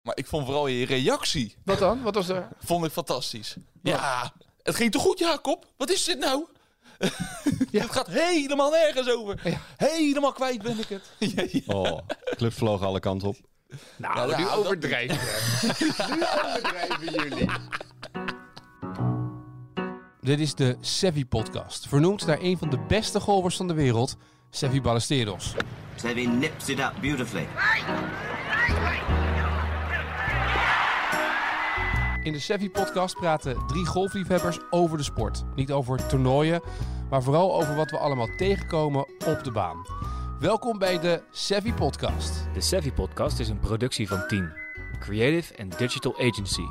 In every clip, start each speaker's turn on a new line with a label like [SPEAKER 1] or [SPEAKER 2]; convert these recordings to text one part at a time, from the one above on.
[SPEAKER 1] Maar ik vond vooral je reactie
[SPEAKER 2] Wat dan? Wat was er?
[SPEAKER 1] vond ik fantastisch. Ja, het ging toch goed, Jacob? Wat is dit nou?
[SPEAKER 2] Ja.
[SPEAKER 1] het gaat helemaal nergens over.
[SPEAKER 2] Ja.
[SPEAKER 1] Helemaal kwijt ben ik het. Ja, ja.
[SPEAKER 3] Oh, club vloog alle kanten op.
[SPEAKER 2] Nou,
[SPEAKER 1] Ja,
[SPEAKER 2] nu
[SPEAKER 1] dat-
[SPEAKER 2] overdrijven. nu overdrijven jullie.
[SPEAKER 4] Dit is de Sevi Podcast, vernoemd naar een van de beste golvers van de wereld, Sevi Ballesteros.
[SPEAKER 5] Sevi nips it up beautifully.
[SPEAKER 4] In de Sevi Podcast praten drie golfliefhebbers over de sport. Niet over toernooien, maar vooral over wat we allemaal tegenkomen op de baan. Welkom bij de Sevi Podcast.
[SPEAKER 6] De Savvy Podcast is een productie van Team, Creative and Digital Agency.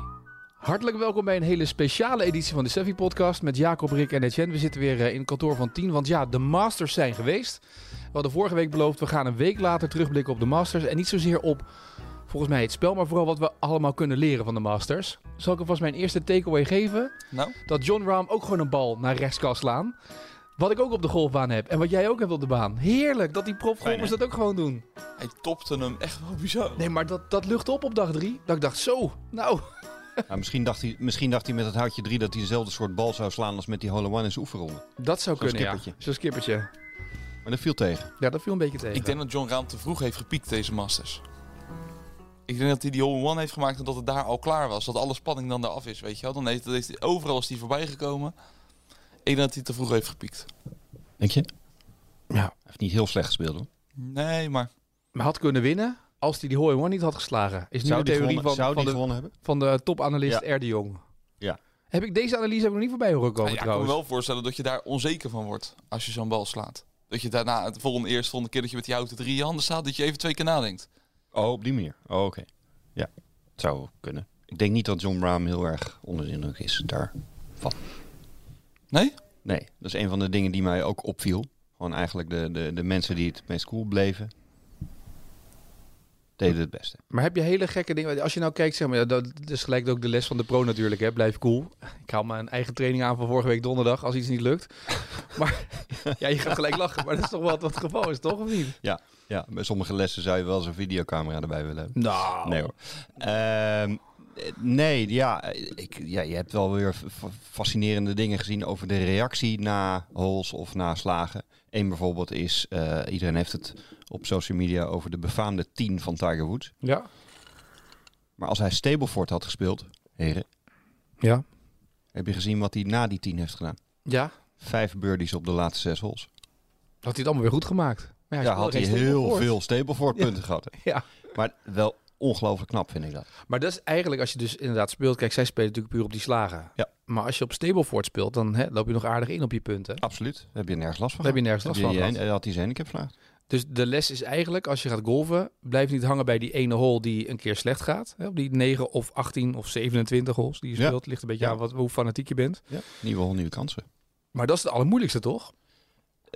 [SPEAKER 2] Hartelijk welkom bij een hele speciale editie van de Sevi Podcast met Jacob, Rick en Etienne. We zitten weer eh, in het kantoor van 10, want ja, de Masters zijn geweest. We hadden vorige week beloofd, we gaan een week later terugblikken op de Masters. En niet zozeer op, volgens mij, het spel, maar vooral wat we allemaal kunnen leren van de Masters. Zal ik alvast mijn eerste takeaway geven?
[SPEAKER 1] Nou,
[SPEAKER 2] Dat John Rahm ook gewoon een bal naar rechts kan slaan. Wat ik ook op de golfbaan heb en wat jij ook hebt op de baan. Heerlijk dat die profgolfers dat ook gewoon doen.
[SPEAKER 1] hij topte hem echt wel bizar.
[SPEAKER 2] Nee, maar dat, dat lucht op op dag drie. Dat ik dacht, zo, nou,
[SPEAKER 3] Ja, misschien, dacht hij, misschien dacht hij met het houtje 3 dat hij dezelfde soort bal zou slaan als met die hole one in zijn oefenronde.
[SPEAKER 2] dat zou
[SPEAKER 3] Zo'n
[SPEAKER 2] kunnen, ja.
[SPEAKER 3] skippertje.
[SPEAKER 2] Zo'n skippertje.
[SPEAKER 3] Maar dat viel tegen.
[SPEAKER 2] Ja, dat viel een beetje tegen.
[SPEAKER 1] Ik denk dat John Raam te vroeg heeft gepiekt deze Masters. Ik denk dat hij die hole one heeft gemaakt en dat het daar al klaar was. Dat alle spanning dan eraf is, weet je wel. Dan heeft, dat heeft hij, overal is hij voorbij gekomen. Ik denk dat hij te vroeg heeft gepiekt.
[SPEAKER 3] Denk je?
[SPEAKER 2] Ja.
[SPEAKER 3] Hij heeft niet heel slecht gespeeld hoor.
[SPEAKER 1] Nee, maar
[SPEAKER 2] Maar had kunnen winnen als hij die hole one niet had geslagen. Is nu
[SPEAKER 3] Zou
[SPEAKER 2] de
[SPEAKER 3] die
[SPEAKER 2] theorie
[SPEAKER 3] gewonnen,
[SPEAKER 2] van,
[SPEAKER 3] zou
[SPEAKER 2] van,
[SPEAKER 3] die
[SPEAKER 2] de,
[SPEAKER 3] gewonnen hebben?
[SPEAKER 2] van de topanalist
[SPEAKER 3] Ja.
[SPEAKER 2] R. de Jong.
[SPEAKER 3] Ja.
[SPEAKER 2] Heb ik deze analyse heb ik nog niet voorbij horen komen
[SPEAKER 1] Nou ja, ik kan me
[SPEAKER 2] trouwens.
[SPEAKER 1] wel voorstellen dat je daar onzeker van wordt als je zo'n bal slaat. Dat je daarna het volgende eerst volgende keer dat je met die houten drie in je handen staat, dat je even twee keer nadenkt.
[SPEAKER 3] Oh, op die manier. Oh, oké. Ja, het zou kunnen. Ik denk niet dat John Rahm heel erg onder de indruk is daarvan.
[SPEAKER 1] Nee?
[SPEAKER 3] Nee, dat is een van de dingen die mij ook opviel. Gewoon eigenlijk de, de, de mensen die het meest cool bleven, deden het beste.
[SPEAKER 2] Maar heb je hele gekke dingen? Als je nou kijkt, zeg maar, ja, dat dat is gelijk ook de les van de pro natuurlijk. Hè? Blijf cool. Ik haal mijn eigen training aan van vorige week donderdag als iets niet lukt. Maar ja, je gaat gelijk lachen. Maar dat is toch wat, wat het geval is, toch of niet?
[SPEAKER 3] Ja, ja, bij sommige lessen zou je wel eens een videocamera erbij willen hebben.
[SPEAKER 2] Nou,
[SPEAKER 3] Nee hoor. Ehm, eh, nee, ja, eh, ik, ja, je hebt wel weer f- f- fascinerende dingen gezien over de reactie na holes of na slagen. Eén bijvoorbeeld is, eh, iedereen heeft het op social media over de befaamde 10 van Tiger Woods.
[SPEAKER 2] Ja.
[SPEAKER 3] Maar als hij Stableford had gespeeld, heren,
[SPEAKER 2] Ja.
[SPEAKER 3] heb je gezien wat hij na die 10 heeft gedaan?
[SPEAKER 2] Ja.
[SPEAKER 3] Vijf birdies op de laatste zes holes.
[SPEAKER 2] Had hij het allemaal weer goed gemaakt. Maar
[SPEAKER 3] Daar
[SPEAKER 2] ja,
[SPEAKER 3] had hij
[SPEAKER 2] speelde geen
[SPEAKER 3] heel
[SPEAKER 2] stuk op
[SPEAKER 3] veel Stableford punten gehad.
[SPEAKER 2] voor. Ja.
[SPEAKER 3] Maar wel ongelooflijk knap vind ik dat.
[SPEAKER 2] Maar dat is eigenlijk als je dus inderdaad speelt. Kijk, zij spelen natuurlijk puur op die slagen.
[SPEAKER 3] Ja.
[SPEAKER 2] Maar als je op Stableford speelt, dan hè, loop je nog aardig in op je punten.
[SPEAKER 3] Absoluut. Daar heb je nergens last van.
[SPEAKER 2] Daar heb je
[SPEAKER 3] gehad.
[SPEAKER 2] nergens last van
[SPEAKER 3] je- je- Had hij zijn handicap verlaagd.
[SPEAKER 2] Dus de les is eigenlijk, als je gaat golven, blijf niet hangen bij die ene hole die een keer slecht gaat. Hè, op die 9 of 18 of 27 holes die je
[SPEAKER 3] Ja.
[SPEAKER 2] speelt. Ligt een beetje
[SPEAKER 3] Ja.
[SPEAKER 2] aan wat, hoe fanatiek je bent.
[SPEAKER 3] Ja. Nieuwe hol, nieuwe kansen.
[SPEAKER 2] Maar dat is het allermoeilijkste, toch?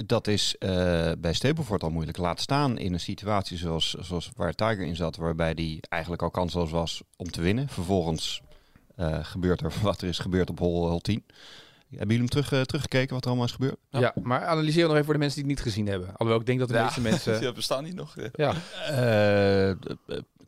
[SPEAKER 3] Dat is eh, bij Stapleford al moeilijk. Laat staan in een situatie zoals, zoals waar Tiger in zat, waarbij die eigenlijk al kansloos was om te winnen. Vervolgens eh, gebeurt er wat er is gebeurd op hol, hol 10. Hebben jullie hem terug, eh, teruggekeken wat er allemaal is gebeurd?
[SPEAKER 2] Ja. maar analyseer nog even voor de mensen die het niet gezien hebben. Alhoewel, ik denk dat de
[SPEAKER 1] Ja.
[SPEAKER 2] meeste mensen...
[SPEAKER 1] Ja, bestaan die nog? Ja.
[SPEAKER 2] Ja,
[SPEAKER 3] Eh, eh,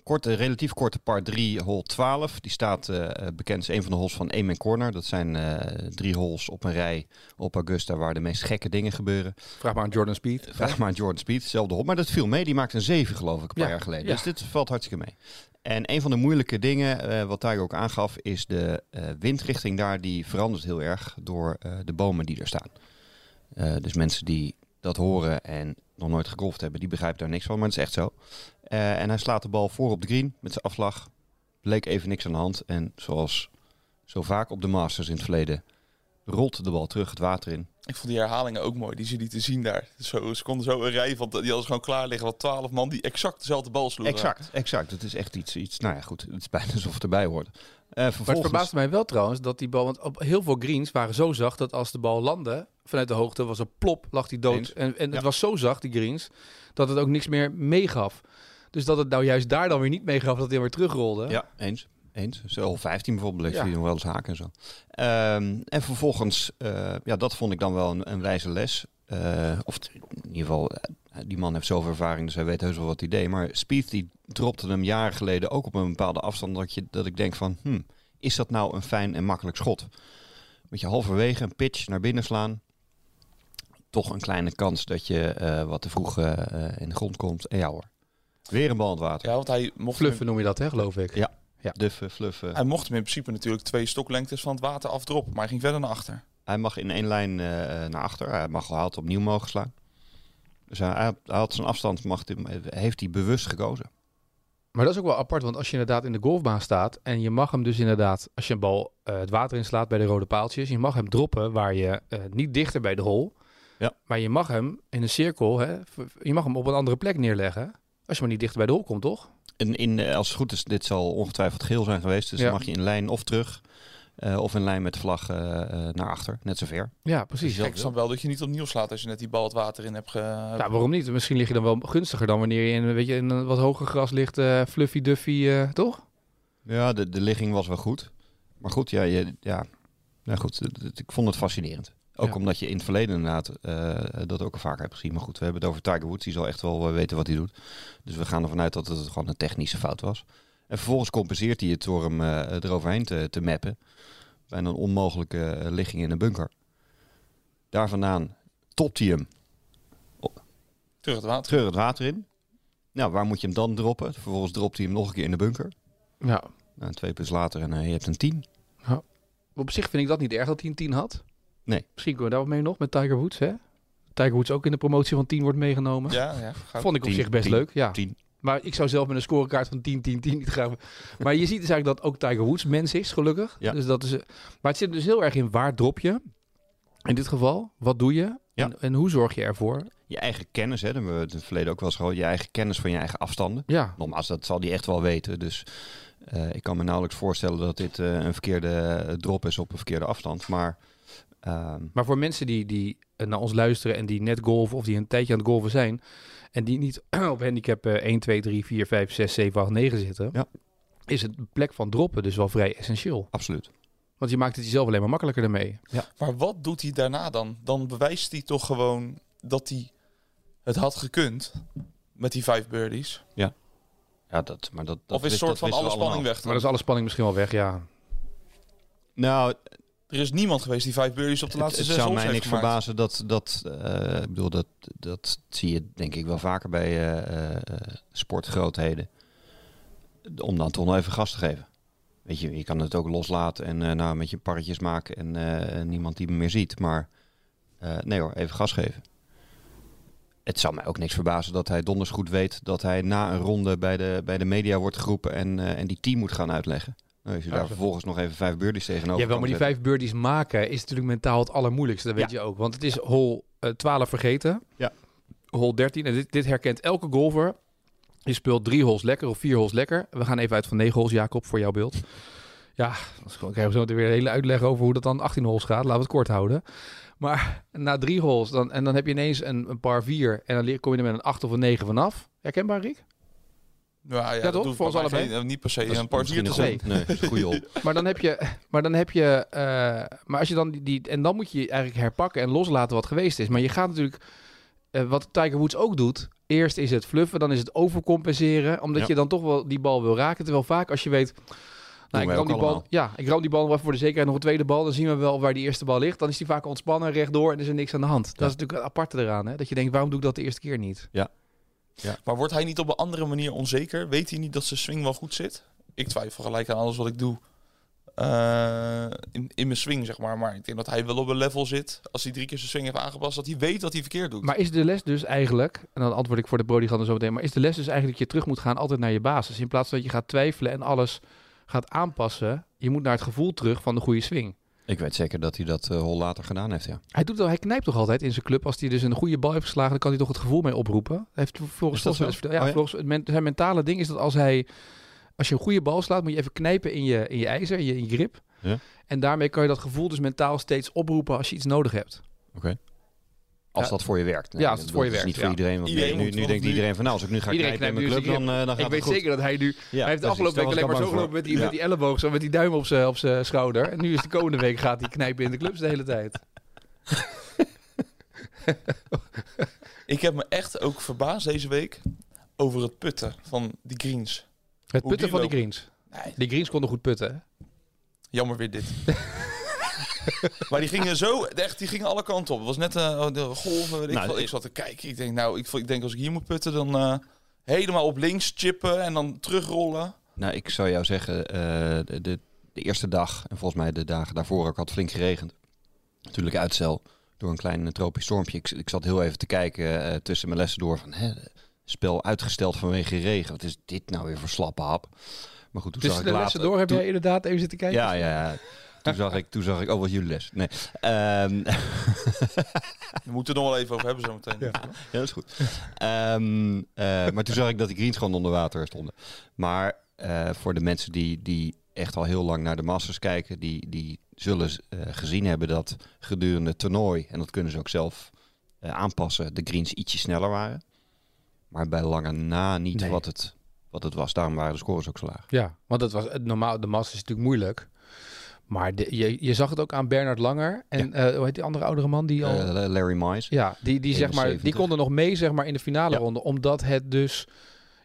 [SPEAKER 3] korte, relatief korte par 3, hol 12. Die staat eh, bekend als een van de holes van Amen Corner. Dat zijn eh, drie holes op een rij op Augusta waar de meest gekke dingen gebeuren.
[SPEAKER 2] vraag maar aan Jordan Speed.
[SPEAKER 3] Vraag maar aan Jordan Speed, hetzelfde hol. Maar dat viel mee. Die maakte een 7, geloof ik, een paar
[SPEAKER 2] Ja,
[SPEAKER 3] jaar geleden.
[SPEAKER 2] ja.
[SPEAKER 3] Dus dit valt hartstikke mee. En een van de moeilijke dingen, eh, wat Tiger ook aangaf, is de eh, windrichting daar. Die verandert heel erg door eh, de bomen die er staan. Eh, dus mensen die dat horen en nog nooit gegolfd hebben, die begrijpen daar niks van. Maar het is echt zo. Eh, en hij slaat de bal voor op de green met zijn afslag. Leek even niks aan de hand. En zoals zo vaak op de Masters in het verleden, rolt de bal terug het water in.
[SPEAKER 1] Ik vond die herhalingen ook mooi, die ze lieten zien daar. Zo, ze konden zo een rij van, die hadden ze gewoon klaar liggen wat twaalf man die exact dezelfde bal sloegen.
[SPEAKER 3] Exact, exact. Het is echt iets, iets. Nou ja, goed. Het is bijna alsof het erbij hoort. Eh,
[SPEAKER 2] Maar het
[SPEAKER 3] vervolgens,
[SPEAKER 2] verbaasde mij wel trouwens dat die bal... Want op heel veel greens waren zo zacht dat als de bal landde vanuit de hoogte... was een plop, lag die dood.
[SPEAKER 3] Eens.
[SPEAKER 2] En, en het
[SPEAKER 3] Ja.
[SPEAKER 2] was zo zacht, die greens, dat het ook niks meer meegaf. Dus dat het nou juist daar dan weer niet meegaf, dat hij weer terugrolde.
[SPEAKER 3] Ja, eens. Eens. Zo 15 bijvoorbeeld. Ik
[SPEAKER 2] Ja.
[SPEAKER 3] zie nog wel eens haken en zo. Ehm, en vervolgens, eh, ja, dat vond ik dan wel een, een wijze les. Eh, of t- in ieder geval, eh, die man heeft zoveel ervaring, dus hij weet heus wel wat hij deed. Maar Spieth die dropte hem jaren geleden ook op een bepaalde afstand dat, je, dat ik denk van, hmm, is dat nou een fijn en makkelijk schot? Met je halverwege een pitch naar binnen slaan. Toch een kleine kans dat je eh, wat te vroeg eh, eh, in de grond komt. En ja hoor, weer een bal in het water.
[SPEAKER 1] Ja, want hij mocht,
[SPEAKER 2] Fluffen noem je dat, hè, geloof ik.
[SPEAKER 3] Ja. Duffen, fluffen.
[SPEAKER 1] Hem, hij mocht hem in principe natuurlijk twee stoklengtes van het water afdroppen. Maar hij ging verder naar achter.
[SPEAKER 3] Hij mag in één lijn eh, naar achter. Hij mag hij had opnieuw mogen slaan. Dus hij, hij had- hij had zijn afstand, mag, hij- heeft hij bewust gekozen.
[SPEAKER 2] Maar dat is ook wel apart, want als je inderdaad in de golfbaan staat en je mag hem dus inderdaad, als je een bal eh, het water inslaat bij de rode paaltjes, je mag hem droppen waar je eh, niet dichter bij de hol,
[SPEAKER 3] Ja.
[SPEAKER 2] maar je mag hem in een cirkel, hè, v- je mag hem op een andere plek neerleggen, als je maar niet dichter bij de hol komt, toch?
[SPEAKER 3] En in, eh, als het goed is, dit zal ongetwijfeld geel zijn geweest. Dus
[SPEAKER 2] Ja.
[SPEAKER 3] dan mag je in lijn of terug. eh, of in lijn met de vlag eh, eh, naar achter. Net zover.
[SPEAKER 2] Ja, precies.
[SPEAKER 1] Kijk, ik snap wel dat je niet opnieuw slaat als je net die bal het water in hebt ge...
[SPEAKER 2] Ja, Nou, waarom niet? Misschien lig je dan wel gunstiger dan wanneer je in, weet je, in een wat hoger gras ligt, eh, fluffy duffy, eh, toch?
[SPEAKER 3] Ja, de, de ligging was wel goed. Maar goed, ja, je, ja. Nou goed, het- het- ik vond het fascinerend. Ook
[SPEAKER 2] Ja.
[SPEAKER 3] omdat je in het verleden inderdaad eh, dat ook al vaker hebt gezien. Maar goed, we hebben het over Tiger Woods. Die zal echt wel eh, weten wat hij doet. Dus we gaan ervan uit dat het gewoon een technische fout was. En vervolgens compenseert hij het door hem eh, eroverheen te, te mappen. Bijna een onmogelijke eh, ligging in een bunker. Daar vandaan topt hij hem
[SPEAKER 1] Terug het water.
[SPEAKER 3] terug het water in. Nou, waar moet je hem dan droppen? Vervolgens dropt hij hem nog een keer in de bunker.
[SPEAKER 2] Ja.
[SPEAKER 3] Nou, twee punten later en eh, je hebt een 10.
[SPEAKER 2] Op zich vind ik dat niet erg dat hij een 10 had.
[SPEAKER 3] Nee.
[SPEAKER 2] Misschien kunnen we daar wat mee nog met Tiger Woods, hè? Tiger Woods ook in de promotie van 10 wordt meegenomen.
[SPEAKER 1] Ja, ja. Goud.
[SPEAKER 2] Vond ik op
[SPEAKER 3] 10,
[SPEAKER 2] zich best
[SPEAKER 3] 10,
[SPEAKER 2] leuk, ja.
[SPEAKER 3] 10.
[SPEAKER 2] Maar ik zou zelf met een scorekaart van 10, 10, 10 niet gaan. Maar je ziet dus eigenlijk dat ook Tiger Woods mens is, gelukkig.
[SPEAKER 3] Ja.
[SPEAKER 2] Dus dat is, eh, maar het zit dus heel erg in waar drop je. In dit geval, wat doe je?
[SPEAKER 3] Ja.
[SPEAKER 2] En, en hoe zorg je ervoor?
[SPEAKER 3] Je eigen kennis, hè, daar hebben we het in het verleden ook wel eens gehad. Je eigen kennis van je eigen afstanden.
[SPEAKER 2] Ja,
[SPEAKER 3] Nogmaals, dat zal die echt wel weten. Dus eh, ik kan me nauwelijks voorstellen dat dit eh, een verkeerde eh, drop is op een verkeerde afstand. Maar ehm,
[SPEAKER 2] maar voor mensen die, die eh, naar ons luisteren en die net golven of die een tijdje aan het golven zijn. En die niet op handicap eh, 1, 2, 3, 4, 5, 6, 7, 8, 9 zitten.
[SPEAKER 3] Ja.
[SPEAKER 2] Is het plek van droppen dus wel vrij essentieel.
[SPEAKER 3] absoluut.
[SPEAKER 2] Want je maakt het jezelf alleen maar makkelijker ermee.
[SPEAKER 1] Maar wat doet hij daarna dan? Dan bewijst hij toch gewoon dat hij het had gekund met die vijf birdies.
[SPEAKER 3] Ja, dat, maar dat,
[SPEAKER 1] of
[SPEAKER 3] dat
[SPEAKER 1] is een
[SPEAKER 3] wist-
[SPEAKER 1] soort
[SPEAKER 3] dat
[SPEAKER 1] van alle
[SPEAKER 3] wisten we
[SPEAKER 1] spanning
[SPEAKER 3] allemaal.
[SPEAKER 1] weg?
[SPEAKER 2] Maar
[SPEAKER 1] dan?
[SPEAKER 2] dat is alle spanning misschien wel weg, ja.
[SPEAKER 3] Nou,
[SPEAKER 1] Er is niemand geweest die vijf birdies op de
[SPEAKER 3] het,
[SPEAKER 1] laatste
[SPEAKER 3] het
[SPEAKER 1] zes
[SPEAKER 3] zou
[SPEAKER 1] holes
[SPEAKER 3] mij
[SPEAKER 1] heeft
[SPEAKER 3] niks
[SPEAKER 1] gemaakt.
[SPEAKER 3] verbazen dat, dat eh, ik bedoel, dat, dat zie je denk ik wel vaker bij eh, eh, sportgrootheden. Om dan toch nog even gas te geven. Weet je, je kan het ook loslaten en eh, nou met je parretjes maken en eh, niemand die me meer ziet. Maar eh, nee hoor, even gas geven. Het zou mij ook niks verbazen dat hij donders goed weet dat hij na een ronde bij de, bij de media wordt geroepen en, eh, en die team moet gaan uitleggen. Nou, als je daar
[SPEAKER 2] Absoluut.
[SPEAKER 3] vervolgens nog even vijf birdies tegenover
[SPEAKER 2] Ja, wel,
[SPEAKER 3] kan
[SPEAKER 2] maar die
[SPEAKER 3] zetten.
[SPEAKER 2] vijf birdies maken is natuurlijk mentaal het allermoeilijkste. Dat weet je ook. Want het is hole eh, 12 vergeten.
[SPEAKER 3] Ja.
[SPEAKER 2] Hole 13. En dit, dit herkent elke golfer. Je speelt drie holes lekker of vier holes lekker. We gaan even uit van negen holes, Jacob, voor jouw beeld. Ja, dan is gewoon- krijgen we zo meteen weer een hele uitleg over hoe dat dan 18 holes gaat. Laten we het kort houden. Maar na drie holes, dan, en dan heb je ineens een, een paar vier. En dan leer- kom je er met een acht of een negen vanaf. Herkenbaar, Rick?
[SPEAKER 1] Ja, ja,
[SPEAKER 2] toch?
[SPEAKER 1] dat doet
[SPEAKER 2] Voor ons
[SPEAKER 1] bij mij
[SPEAKER 2] allebei?
[SPEAKER 1] geen- eh, niet per se
[SPEAKER 3] Dat is
[SPEAKER 1] een part
[SPEAKER 3] misschien
[SPEAKER 1] te
[SPEAKER 3] een
[SPEAKER 1] zijn.
[SPEAKER 3] goeie- Nee, dat is een goede op.
[SPEAKER 2] Maar dan heb je, maar dan heb je, eh, maar als je dan die- die, en dan moet je eigenlijk herpakken en loslaten wat geweest is. Maar je gaat natuurlijk, eh, wat Tiger Woods ook doet, eerst is het fluffen, dan is het overcompenseren, omdat
[SPEAKER 3] Ja.
[SPEAKER 2] je dan toch wel die bal wil raken. Terwijl vaak als je weet,
[SPEAKER 3] wij
[SPEAKER 2] nou, ik
[SPEAKER 3] ook
[SPEAKER 2] ram die bal,
[SPEAKER 3] allemaal.
[SPEAKER 2] ja, ik ram die bal nog even voor de zekerheid nog een tweede bal, dan zien we wel waar die eerste bal ligt. Dan is die vaak ontspannen, rechtdoor en is er niks aan de hand. Dat is natuurlijk het aparte eraan, hè? dat je denkt, waarom doe ik dat de eerste keer niet?
[SPEAKER 1] Maar wordt hij niet op een andere manier onzeker? Weet hij niet dat zijn swing wel goed zit? Ik twijfel gelijk aan alles wat ik doe. eh, in, in mijn swing, zeg maar. Maar ik denk dat hij wel op een level zit. Als hij drie keer zijn swing heeft aangepast, dat hij weet dat hij verkeerd doet.
[SPEAKER 2] Maar is de les dus eigenlijk, en dan antwoord ik voor de Brodigan zo meteen, maar is de les dus eigenlijk dat je terug moet gaan altijd naar je basis? In plaats dat je gaat twijfelen en alles gaat aanpassen, je moet naar het gevoel terug van de goede swing.
[SPEAKER 3] Ik weet zeker dat hij dat eh, hol later gedaan heeft, ja.
[SPEAKER 2] Hij, doet, wel- hij knijpt toch altijd in zijn club, als hij dus een goede bal heeft geslagen, dan kan hij toch het gevoel mee oproepen. Hij heeft volgens,
[SPEAKER 3] Is dat
[SPEAKER 2] volgens mij eens
[SPEAKER 3] zo?
[SPEAKER 2] verteld- ja,
[SPEAKER 3] Oh ja?
[SPEAKER 2] volgens het men- zijn mentale ding is dat als hij, als je een goede bal slaat, moet je even knijpen in je, in je ijzer, in je, in je grip.
[SPEAKER 3] Ja.
[SPEAKER 2] En daarmee kan je dat gevoel dus mentaal steeds oproepen als je iets nodig hebt.
[SPEAKER 3] Als
[SPEAKER 2] Ja.
[SPEAKER 3] dat voor je werkt.
[SPEAKER 2] Ja, als het
[SPEAKER 3] ik
[SPEAKER 2] voor je
[SPEAKER 3] bedoel,
[SPEAKER 2] werkt,
[SPEAKER 3] het is niet voor iedereen, want
[SPEAKER 1] Iedereen
[SPEAKER 3] nu,
[SPEAKER 1] moet-
[SPEAKER 3] nu
[SPEAKER 1] want
[SPEAKER 3] denkt
[SPEAKER 1] nu-
[SPEAKER 3] iedereen van nou, als ik nu ga
[SPEAKER 2] Iedereen
[SPEAKER 3] knijpen in mijn
[SPEAKER 2] knijpt
[SPEAKER 3] club,
[SPEAKER 2] nu zijn
[SPEAKER 3] dan, eh, dan gaat
[SPEAKER 2] ik weet
[SPEAKER 3] het goed.
[SPEAKER 2] zeker dat hij nu
[SPEAKER 3] Ja,
[SPEAKER 2] hij heeft de
[SPEAKER 3] precies,
[SPEAKER 2] afgelopen
[SPEAKER 3] daar
[SPEAKER 2] week alleen maar
[SPEAKER 3] was ik
[SPEAKER 2] zo
[SPEAKER 3] al
[SPEAKER 2] gelopen
[SPEAKER 3] bang
[SPEAKER 2] met die,
[SPEAKER 1] Ja.
[SPEAKER 2] met die elleboog, zo met die duim op zijn op zijn schouder. En nu is de komende week gaat hij knijpen in de clubs de hele tijd.
[SPEAKER 1] Ik heb me echt ook verbaasd deze week over het putten van die greens.
[SPEAKER 2] Het
[SPEAKER 1] Hoe
[SPEAKER 2] putten
[SPEAKER 1] die
[SPEAKER 2] van die greens.
[SPEAKER 1] Nee,
[SPEAKER 2] Die greens konden goed putten. hè?
[SPEAKER 1] jammer weer dit. maar die gingen zo, echt, die gingen alle kanten op. Het was net eh, de golven. weet Ik,
[SPEAKER 3] Nou,
[SPEAKER 1] veel.
[SPEAKER 3] dit-
[SPEAKER 1] ik zat te kijken. Ik denk, nou, ik, vo- ik denk als ik hier moet putten, dan eh, helemaal op links chippen en dan terugrollen.
[SPEAKER 3] Nou, ik zou jou zeggen, eh, de, de, de eerste dag en volgens mij de dagen daarvoor ook had flink geregend. Natuurlijk uitstel door een klein eh, tropisch stormpje. Ik, ik zat heel even te kijken eh, tussen mijn lessen door van, hè, spel uitgesteld vanwege regen. Wat is dit nou weer voor slappe hap? Maar goed, toen
[SPEAKER 2] Dus
[SPEAKER 3] zag
[SPEAKER 2] de
[SPEAKER 3] ik
[SPEAKER 2] lessen
[SPEAKER 3] later...
[SPEAKER 2] door heb
[SPEAKER 3] toen-
[SPEAKER 2] jij inderdaad even zitten kijken.
[SPEAKER 3] Ja, ja, ja. Toen zag ik, toen zag ik, oh, wat jullie les. Nee. Ehm,
[SPEAKER 1] We moeten het nog wel even over hebben zometeen.
[SPEAKER 3] Ja, dat is goed. Ehm, eh, maar toen zag ik dat die greens gewoon onder water stonden. Maar eh, voor de mensen die, die echt al heel lang naar de Masters kijken, die, die zullen eh, gezien hebben dat gedurende het toernooi, en dat kunnen ze ook zelf eh, aanpassen, de greens ietsje sneller waren. Maar bij lange na niet
[SPEAKER 2] Nee.
[SPEAKER 3] wat, het, wat het was. Daarom waren de scores ook zo laag.
[SPEAKER 2] Ja, want dat was het normaal. De massa is natuurlijk moeilijk. Maar de- je, je zag het ook aan Bernard Langer. En eh, hoe heet die andere oudere man die al.
[SPEAKER 3] Eh, Larry Mize.
[SPEAKER 2] ja, die, die, zeg maar, die
[SPEAKER 3] 71.
[SPEAKER 2] konden nog mee zeg maar, in de finale
[SPEAKER 3] Ja.
[SPEAKER 2] ronde. Omdat het dus.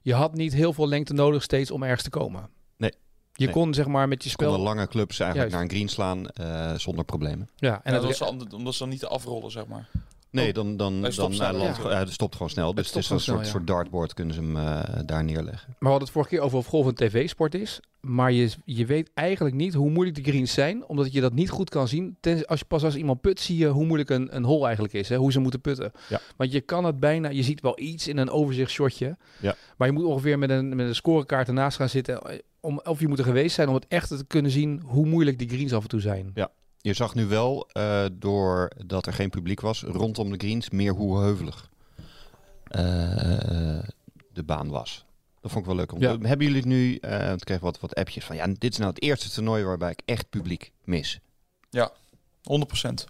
[SPEAKER 2] Je had niet heel veel lengte nodig steeds om ergens te komen.
[SPEAKER 3] Nee.
[SPEAKER 2] Je
[SPEAKER 3] Nee.
[SPEAKER 2] kon zeg maar met je
[SPEAKER 3] Ze konden
[SPEAKER 2] spel.
[SPEAKER 3] lange clubs eigenlijk
[SPEAKER 2] Juist.
[SPEAKER 3] naar een green slaan eh, zonder problemen.
[SPEAKER 2] Ja, en
[SPEAKER 1] En
[SPEAKER 2] het,
[SPEAKER 1] dat
[SPEAKER 2] re-
[SPEAKER 1] ze, ander- omdat ze dan niet te afrollen, zeg maar.
[SPEAKER 3] Nee, dan, dan,
[SPEAKER 1] Hij
[SPEAKER 3] dan,
[SPEAKER 1] stopt
[SPEAKER 3] hij
[SPEAKER 1] snel,
[SPEAKER 3] landt
[SPEAKER 1] ja.
[SPEAKER 3] gewoon- hij stopt gewoon snel. Dus
[SPEAKER 2] stopt
[SPEAKER 3] het is een
[SPEAKER 2] gewoon
[SPEAKER 3] soort,
[SPEAKER 2] snel,
[SPEAKER 3] soort dartboard kunnen ze hem eh, daar neerleggen.
[SPEAKER 2] maar we hadden het vorige keer over of golf een tv-sport is. Maar je, je weet eigenlijk niet hoe moeilijk de greens zijn. Omdat je dat niet goed kan zien. Tenzij- als je, pas als iemand put zie je hoe moeilijk een, een hole eigenlijk is. Hè? Hoe ze moeten putten.
[SPEAKER 3] Ja.
[SPEAKER 2] Want je kan het bijna... Je ziet wel iets in een overzichtsshotje.
[SPEAKER 3] Ja.
[SPEAKER 2] Maar je moet ongeveer met een, met een scorekaart ernaast gaan zitten. eh, Om, of je moet er geweest zijn om het echt te kunnen zien hoe moeilijk die greens af en toe zijn.
[SPEAKER 3] Je zag nu wel, eh doordat er geen publiek was, rondom de greens meer hoe heuvelig eh, eh, de baan was. Dat vond ik wel leuk. Om
[SPEAKER 2] Ja.
[SPEAKER 3] Hebben jullie het nu, eh want ik kreeg wat, wat appjes van, ja, dit is nou het eerste toernooi waarbij ik echt publiek mis.
[SPEAKER 1] 100%.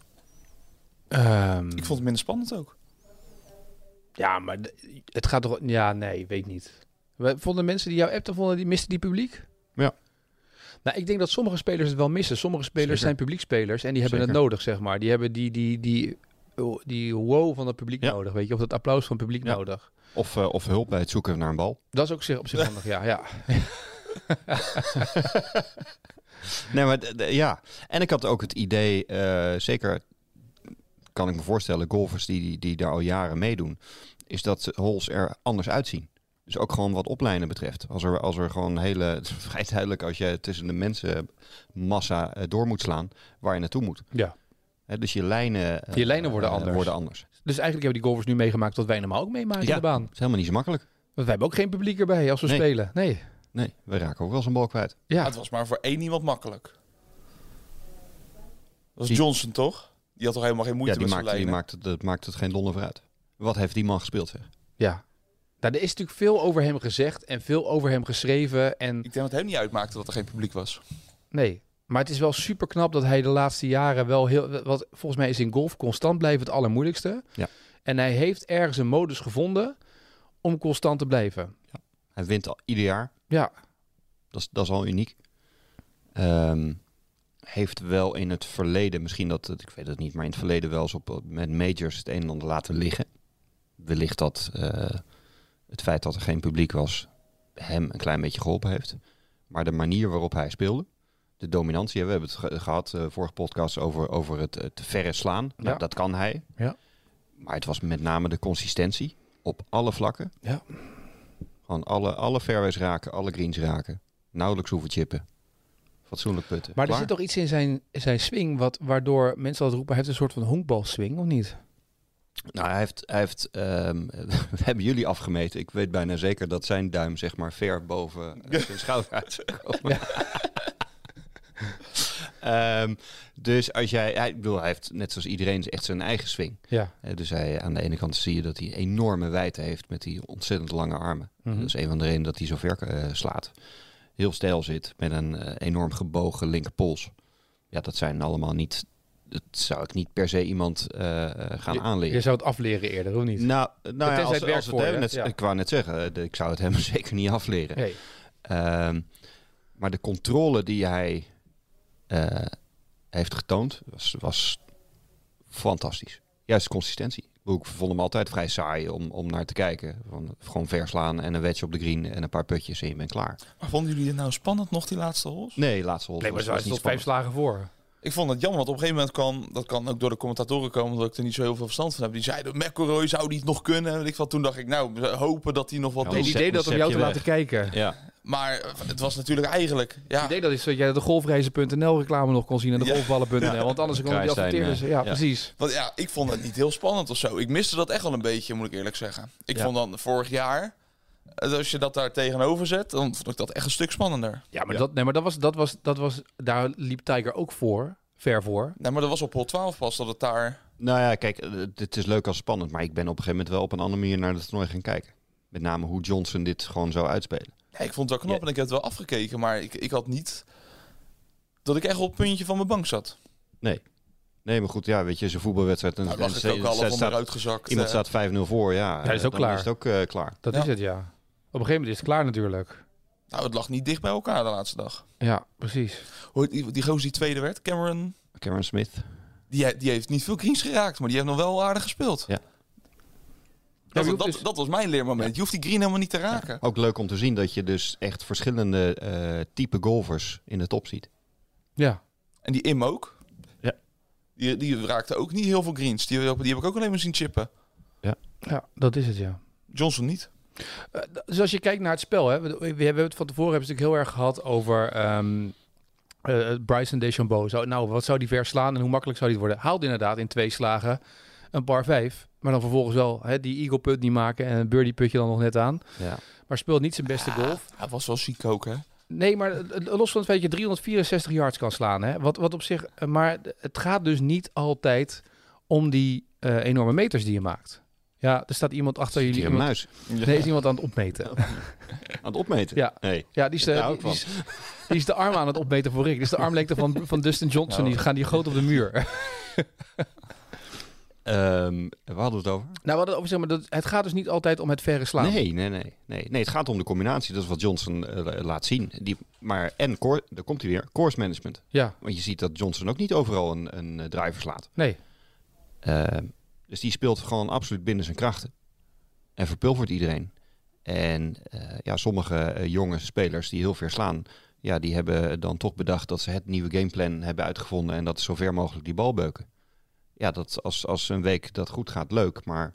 [SPEAKER 1] Ik vond het minder spannend ook.
[SPEAKER 2] Ja, maar d- het gaat toch... Ja, nee, weet niet. We- Vonden mensen die jou appten, vonden die, misten die publiek?
[SPEAKER 3] Ja.
[SPEAKER 2] Nou, ik denk dat sommige spelers het wel missen. Sommige spelers
[SPEAKER 3] Zeker.
[SPEAKER 2] zijn publiekspelers en die hebben
[SPEAKER 3] Zeker.
[SPEAKER 2] het nodig, zeg maar. Die hebben die, die, die, oh, die wow van het publiek
[SPEAKER 3] Ja.
[SPEAKER 2] nodig, weet je. Of dat applaus van het publiek
[SPEAKER 3] Ja.
[SPEAKER 2] nodig.
[SPEAKER 3] Of, eh, of hulp bij het zoeken naar een bal.
[SPEAKER 2] Dat is ook zich- op zich handig, ja. ja.
[SPEAKER 3] Nee, maar d- d- ja. En ik had ook het idee, eh, zeker kan ik me voorstellen, golfers die, die, die daar al jaren meedoen, is dat ze- holes er anders uitzien. Dus ook gewoon wat oplijnen betreft. Als er, als er gewoon hele, het is vrij duidelijk als je tussen de mensenmassa eh, door moet slaan, waar je naartoe moet.
[SPEAKER 2] Ja.
[SPEAKER 3] Hè, dus je lijnen, eh,
[SPEAKER 2] Je lijnen worden
[SPEAKER 3] eh,
[SPEAKER 2] anders.
[SPEAKER 3] worden anders. Het
[SPEAKER 2] Dus eigenlijk hebben die golfers nu meegemaakt wat wij normaal ook meemaken
[SPEAKER 3] Ja.
[SPEAKER 2] in de baan.
[SPEAKER 3] is helemaal niet zo makkelijk.
[SPEAKER 2] Want wij hebben ook geen publiek erbij als we
[SPEAKER 3] Nee.
[SPEAKER 2] spelen. Nee.
[SPEAKER 3] Nee, we raken ook wel zijn bal kwijt.
[SPEAKER 2] Ja.
[SPEAKER 1] Het was maar voor één iemand makkelijk. Dat was
[SPEAKER 3] Die-
[SPEAKER 1] Johnson, toch? Die had toch helemaal geen moeite
[SPEAKER 3] ja, die
[SPEAKER 1] met zijn
[SPEAKER 3] maakt, die
[SPEAKER 1] lijnen?
[SPEAKER 3] maakt het, dat maakt het geen donder vooruit. Wat heeft die man gespeeld zeg?
[SPEAKER 2] ja. Nou, er is natuurlijk veel over hem gezegd en veel over hem geschreven. En
[SPEAKER 1] Ik denk dat het hem niet uitmaakte dat er geen publiek was.
[SPEAKER 2] Nee. Maar het is wel super knap dat hij de laatste jaren wel heel. Wat volgens mij is in golf constant blijven het allermoeilijkste.
[SPEAKER 3] Ja.
[SPEAKER 2] En hij heeft ergens een modus gevonden om constant te blijven.
[SPEAKER 3] Hij wint al ieder jaar.
[SPEAKER 2] Ja.
[SPEAKER 3] Dat is, dat is al uniek. Ehm, heeft wel in het verleden, misschien dat, het- ik weet het niet, maar in het verleden wel eens op, met majors het een en ander laten liggen. Wellicht dat eh, het feit dat er geen publiek was hem een klein beetje geholpen heeft. Maar de manier waarop hij speelde, de dominantie, hè, we hebben het ge- gehad eh vorige podcast over, over het, het verre slaan.
[SPEAKER 2] Ja.
[SPEAKER 3] Nou, dat kan hij.
[SPEAKER 2] Ja.
[SPEAKER 3] Maar het was met name de consistentie op alle vlakken.
[SPEAKER 2] Ja.
[SPEAKER 3] Gewoon alle, alle fairways raken, alle greens raken. Nauwelijks hoeven chippen. Fatsoenlijk putten.
[SPEAKER 2] Maar
[SPEAKER 3] Klaar?
[SPEAKER 2] er zit toch iets in zijn, zijn swing wat, waardoor mensen altijd roepen: hij heeft een soort van honkbalswing, of niet?
[SPEAKER 3] Nou, hij heeft, hij heeft ehm, we hebben jullie afgemeten. Ik weet bijna zeker dat zijn duim zeg maar ver boven eh, zijn schouder uit zou komen. Ehm, dus als jij, hij, ik bedoel, hij heeft net zoals iedereen echt zijn eigen swing.
[SPEAKER 2] Ja.
[SPEAKER 3] Eh, Dus hij, aan de ene kant zie je dat hij enorme wijdte heeft met die ontzettend lange armen.
[SPEAKER 2] Mhm.
[SPEAKER 3] Dat is een van de redenen dat hij zo ver eh, slaat. Heel stijl zit met een eh, enorm gebogen linkerpols. Ja, dat zijn allemaal niet. Dat zou ik niet per se iemand eh, eh, gaan aanleren.
[SPEAKER 2] Je zou het afleren eerder, of niet?
[SPEAKER 3] Nou, nou ja,
[SPEAKER 2] Tenzij
[SPEAKER 3] als,
[SPEAKER 2] het werkt
[SPEAKER 3] als het
[SPEAKER 2] voor
[SPEAKER 3] hem
[SPEAKER 2] je,
[SPEAKER 3] net,
[SPEAKER 2] ja.
[SPEAKER 3] Ik wou net zeggen, eh, de- ik zou het hem zeker niet afleren.
[SPEAKER 2] Nee.
[SPEAKER 3] Ehm, maar de controle die hij eh, heeft getoond was, was fantastisch. Juist consistentie. boek vond hem altijd vrij saai om, om naar te kijken. Van, gewoon verslaan en een wedge op de green en een paar putjes en je bent klaar.
[SPEAKER 1] Maar vonden jullie het nou spannend nog, die laatste holes?
[SPEAKER 3] Nee, laatste hol.
[SPEAKER 2] Nee, maar
[SPEAKER 3] was-
[SPEAKER 2] ze
[SPEAKER 3] was
[SPEAKER 2] waren
[SPEAKER 3] niet
[SPEAKER 2] tot vijf
[SPEAKER 3] spannend.
[SPEAKER 2] slagen voor.
[SPEAKER 1] Ik vond het jammer, want op een gegeven moment kwam... Dat kan ook door de commentatoren komen, omdat ik er niet zo heel veel verstand van heb. Die zeiden, McElroy, zou die het nog kunnen? Weet ik wat. Toen dacht ik, nou, we hopen dat hij nog wat
[SPEAKER 3] Ja,
[SPEAKER 1] doet.
[SPEAKER 2] het
[SPEAKER 3] zet-
[SPEAKER 2] idee dat
[SPEAKER 3] zet
[SPEAKER 2] om jou
[SPEAKER 3] je
[SPEAKER 2] te
[SPEAKER 3] weg.
[SPEAKER 2] laten kijken.
[SPEAKER 3] Ja,
[SPEAKER 1] Maar eh, het was natuurlijk eigenlijk...
[SPEAKER 2] Het
[SPEAKER 1] Ja,
[SPEAKER 2] idee dat is dat jij de golfreizen.nl reclame nog kon zien en de
[SPEAKER 1] Ja.
[SPEAKER 2] golfballen.nl. Want anders kon je die
[SPEAKER 3] Krijgstein,
[SPEAKER 2] adverteren. ze.
[SPEAKER 3] eh,
[SPEAKER 2] Ja,
[SPEAKER 3] ja.
[SPEAKER 2] precies.
[SPEAKER 1] want, ja, ik vond het niet heel spannend of zo. Ik miste dat echt wel een beetje, moet ik eerlijk zeggen. Ik
[SPEAKER 3] Ja.
[SPEAKER 1] vond dan vorig jaar... eh, Als je dat daar tegenover zet, dan vond ik dat echt een stuk spannender.
[SPEAKER 2] Ja, maar, Dat, nee, maar dat was, dat was, dat was, daar liep Tiger ook voor. Ver voor.
[SPEAKER 1] Nee, Nou, maar dat was op hol 12 pas dat het daar...
[SPEAKER 3] nou ja, kijk, eh, het is leuk als spannend, maar ik ben op een gegeven moment wel op een andere manier naar het toernooi gaan kijken. Met name hoe Johnson dit gewoon zou uitspelen.
[SPEAKER 1] Ja, ik vond het wel knap en ik heb het wel afgekeken, maar ik, ik had niet dat ik echt op het puntje van mijn bank zat.
[SPEAKER 3] Nee, maar goed, ja, weet je, zijn voetbalwedstrijd. En,
[SPEAKER 1] Nou,
[SPEAKER 3] en
[SPEAKER 1] lag ik
[SPEAKER 3] ze-
[SPEAKER 1] ook al
[SPEAKER 3] ze-
[SPEAKER 1] van
[SPEAKER 3] staat-
[SPEAKER 1] eruit gezakt.
[SPEAKER 3] Iemand
[SPEAKER 1] eh.
[SPEAKER 3] staat 5-0 voor, ja.
[SPEAKER 2] dat is
[SPEAKER 3] eh,
[SPEAKER 2] ook
[SPEAKER 3] dan
[SPEAKER 2] klaar.
[SPEAKER 3] Is het ook eh, klaar.
[SPEAKER 2] Dat
[SPEAKER 1] Ja.
[SPEAKER 2] is het, ja. Op een gegeven moment is het klaar natuurlijk.
[SPEAKER 1] Nou, het lag niet dicht bij elkaar de laatste dag.
[SPEAKER 2] Ja, precies.
[SPEAKER 1] Hoor, die, die gozer die tweede werd, Cameron,
[SPEAKER 3] Cameron Smith.
[SPEAKER 1] die, he- die heeft niet veel greens geraakt, maar die heeft nog wel aardig gespeeld.
[SPEAKER 3] Ja.
[SPEAKER 1] Dat,
[SPEAKER 2] Ja,
[SPEAKER 1] dat,
[SPEAKER 2] dus-
[SPEAKER 1] dat was mijn leermoment. Je hoeft die green helemaal niet te raken.
[SPEAKER 3] Ook leuk om te zien dat je dus echt verschillende eh, type golfers in de top ziet.
[SPEAKER 2] Ja.
[SPEAKER 1] En die Im ook.
[SPEAKER 3] Ja.
[SPEAKER 1] Die, die raakte ook niet heel veel greens. Die, die heb ik ook alleen maar zien chippen.
[SPEAKER 2] ja, dat is het, ja.
[SPEAKER 1] Johnson niet.
[SPEAKER 2] Eh, d- Dus als je kijkt naar het spel, hè, we, we hebben het van tevoren hebben ze het natuurlijk heel erg gehad over ehm eh Bryson DeChambeau. Zou, nou, wat zou die verslaan en hoe makkelijk zou die het worden? Haalde inderdaad in twee slagen een par vijf, maar dan vervolgens wel hè, die eagle put niet maken en een birdie putje dan nog net aan.
[SPEAKER 3] Ja.
[SPEAKER 2] Maar speelt niet zijn beste golf.
[SPEAKER 1] Hij was wel ziek ook, hè?
[SPEAKER 2] Nee, maar eh, los van het feit dat je 364 yards kan slaan, hè, wat, wat op zich. eh, Maar het gaat dus niet altijd om die eh, enorme meters die je maakt. Ja, er staat iemand achter jullie.
[SPEAKER 3] Hier een
[SPEAKER 2] iemand-
[SPEAKER 3] muis
[SPEAKER 2] nee, is iemand aan het opmeten.
[SPEAKER 3] aan het opmeten.
[SPEAKER 2] Ja.
[SPEAKER 3] Nee.
[SPEAKER 2] Ja, die is, de,
[SPEAKER 3] Daar hou ik
[SPEAKER 2] die, die is, die is de arm aan het opmeten voor Rick. Dus de armlengte van, van Dustin Johnson. Die gaan die groot op de muur. nou,
[SPEAKER 3] Ehm, waar hadden we het over?
[SPEAKER 2] we hadden het over, zeg maar, dat, het gaat dus niet altijd om het verre slaan.
[SPEAKER 3] Nee, nee, nee, nee. Nee, het gaat om de combinatie. Dat is wat Johnson eh, laat zien. Die, maar, en, cour- daar komt hij weer, course management.
[SPEAKER 2] Ja,
[SPEAKER 3] Want je ziet dat Johnson ook niet overal een, een eh, driver slaat.
[SPEAKER 2] nee.
[SPEAKER 3] Ehm, dus die speelt gewoon absoluut binnen zijn krachten. En verpulvert iedereen. En eh, ja, sommige eh, jonge spelers die heel ver slaan... Ja, die hebben dan toch bedacht dat ze het nieuwe gameplan hebben uitgevonden... en dat is zo ver mogelijk die bal beuken. Ja, dat als, als een week dat goed gaat, leuk. Maar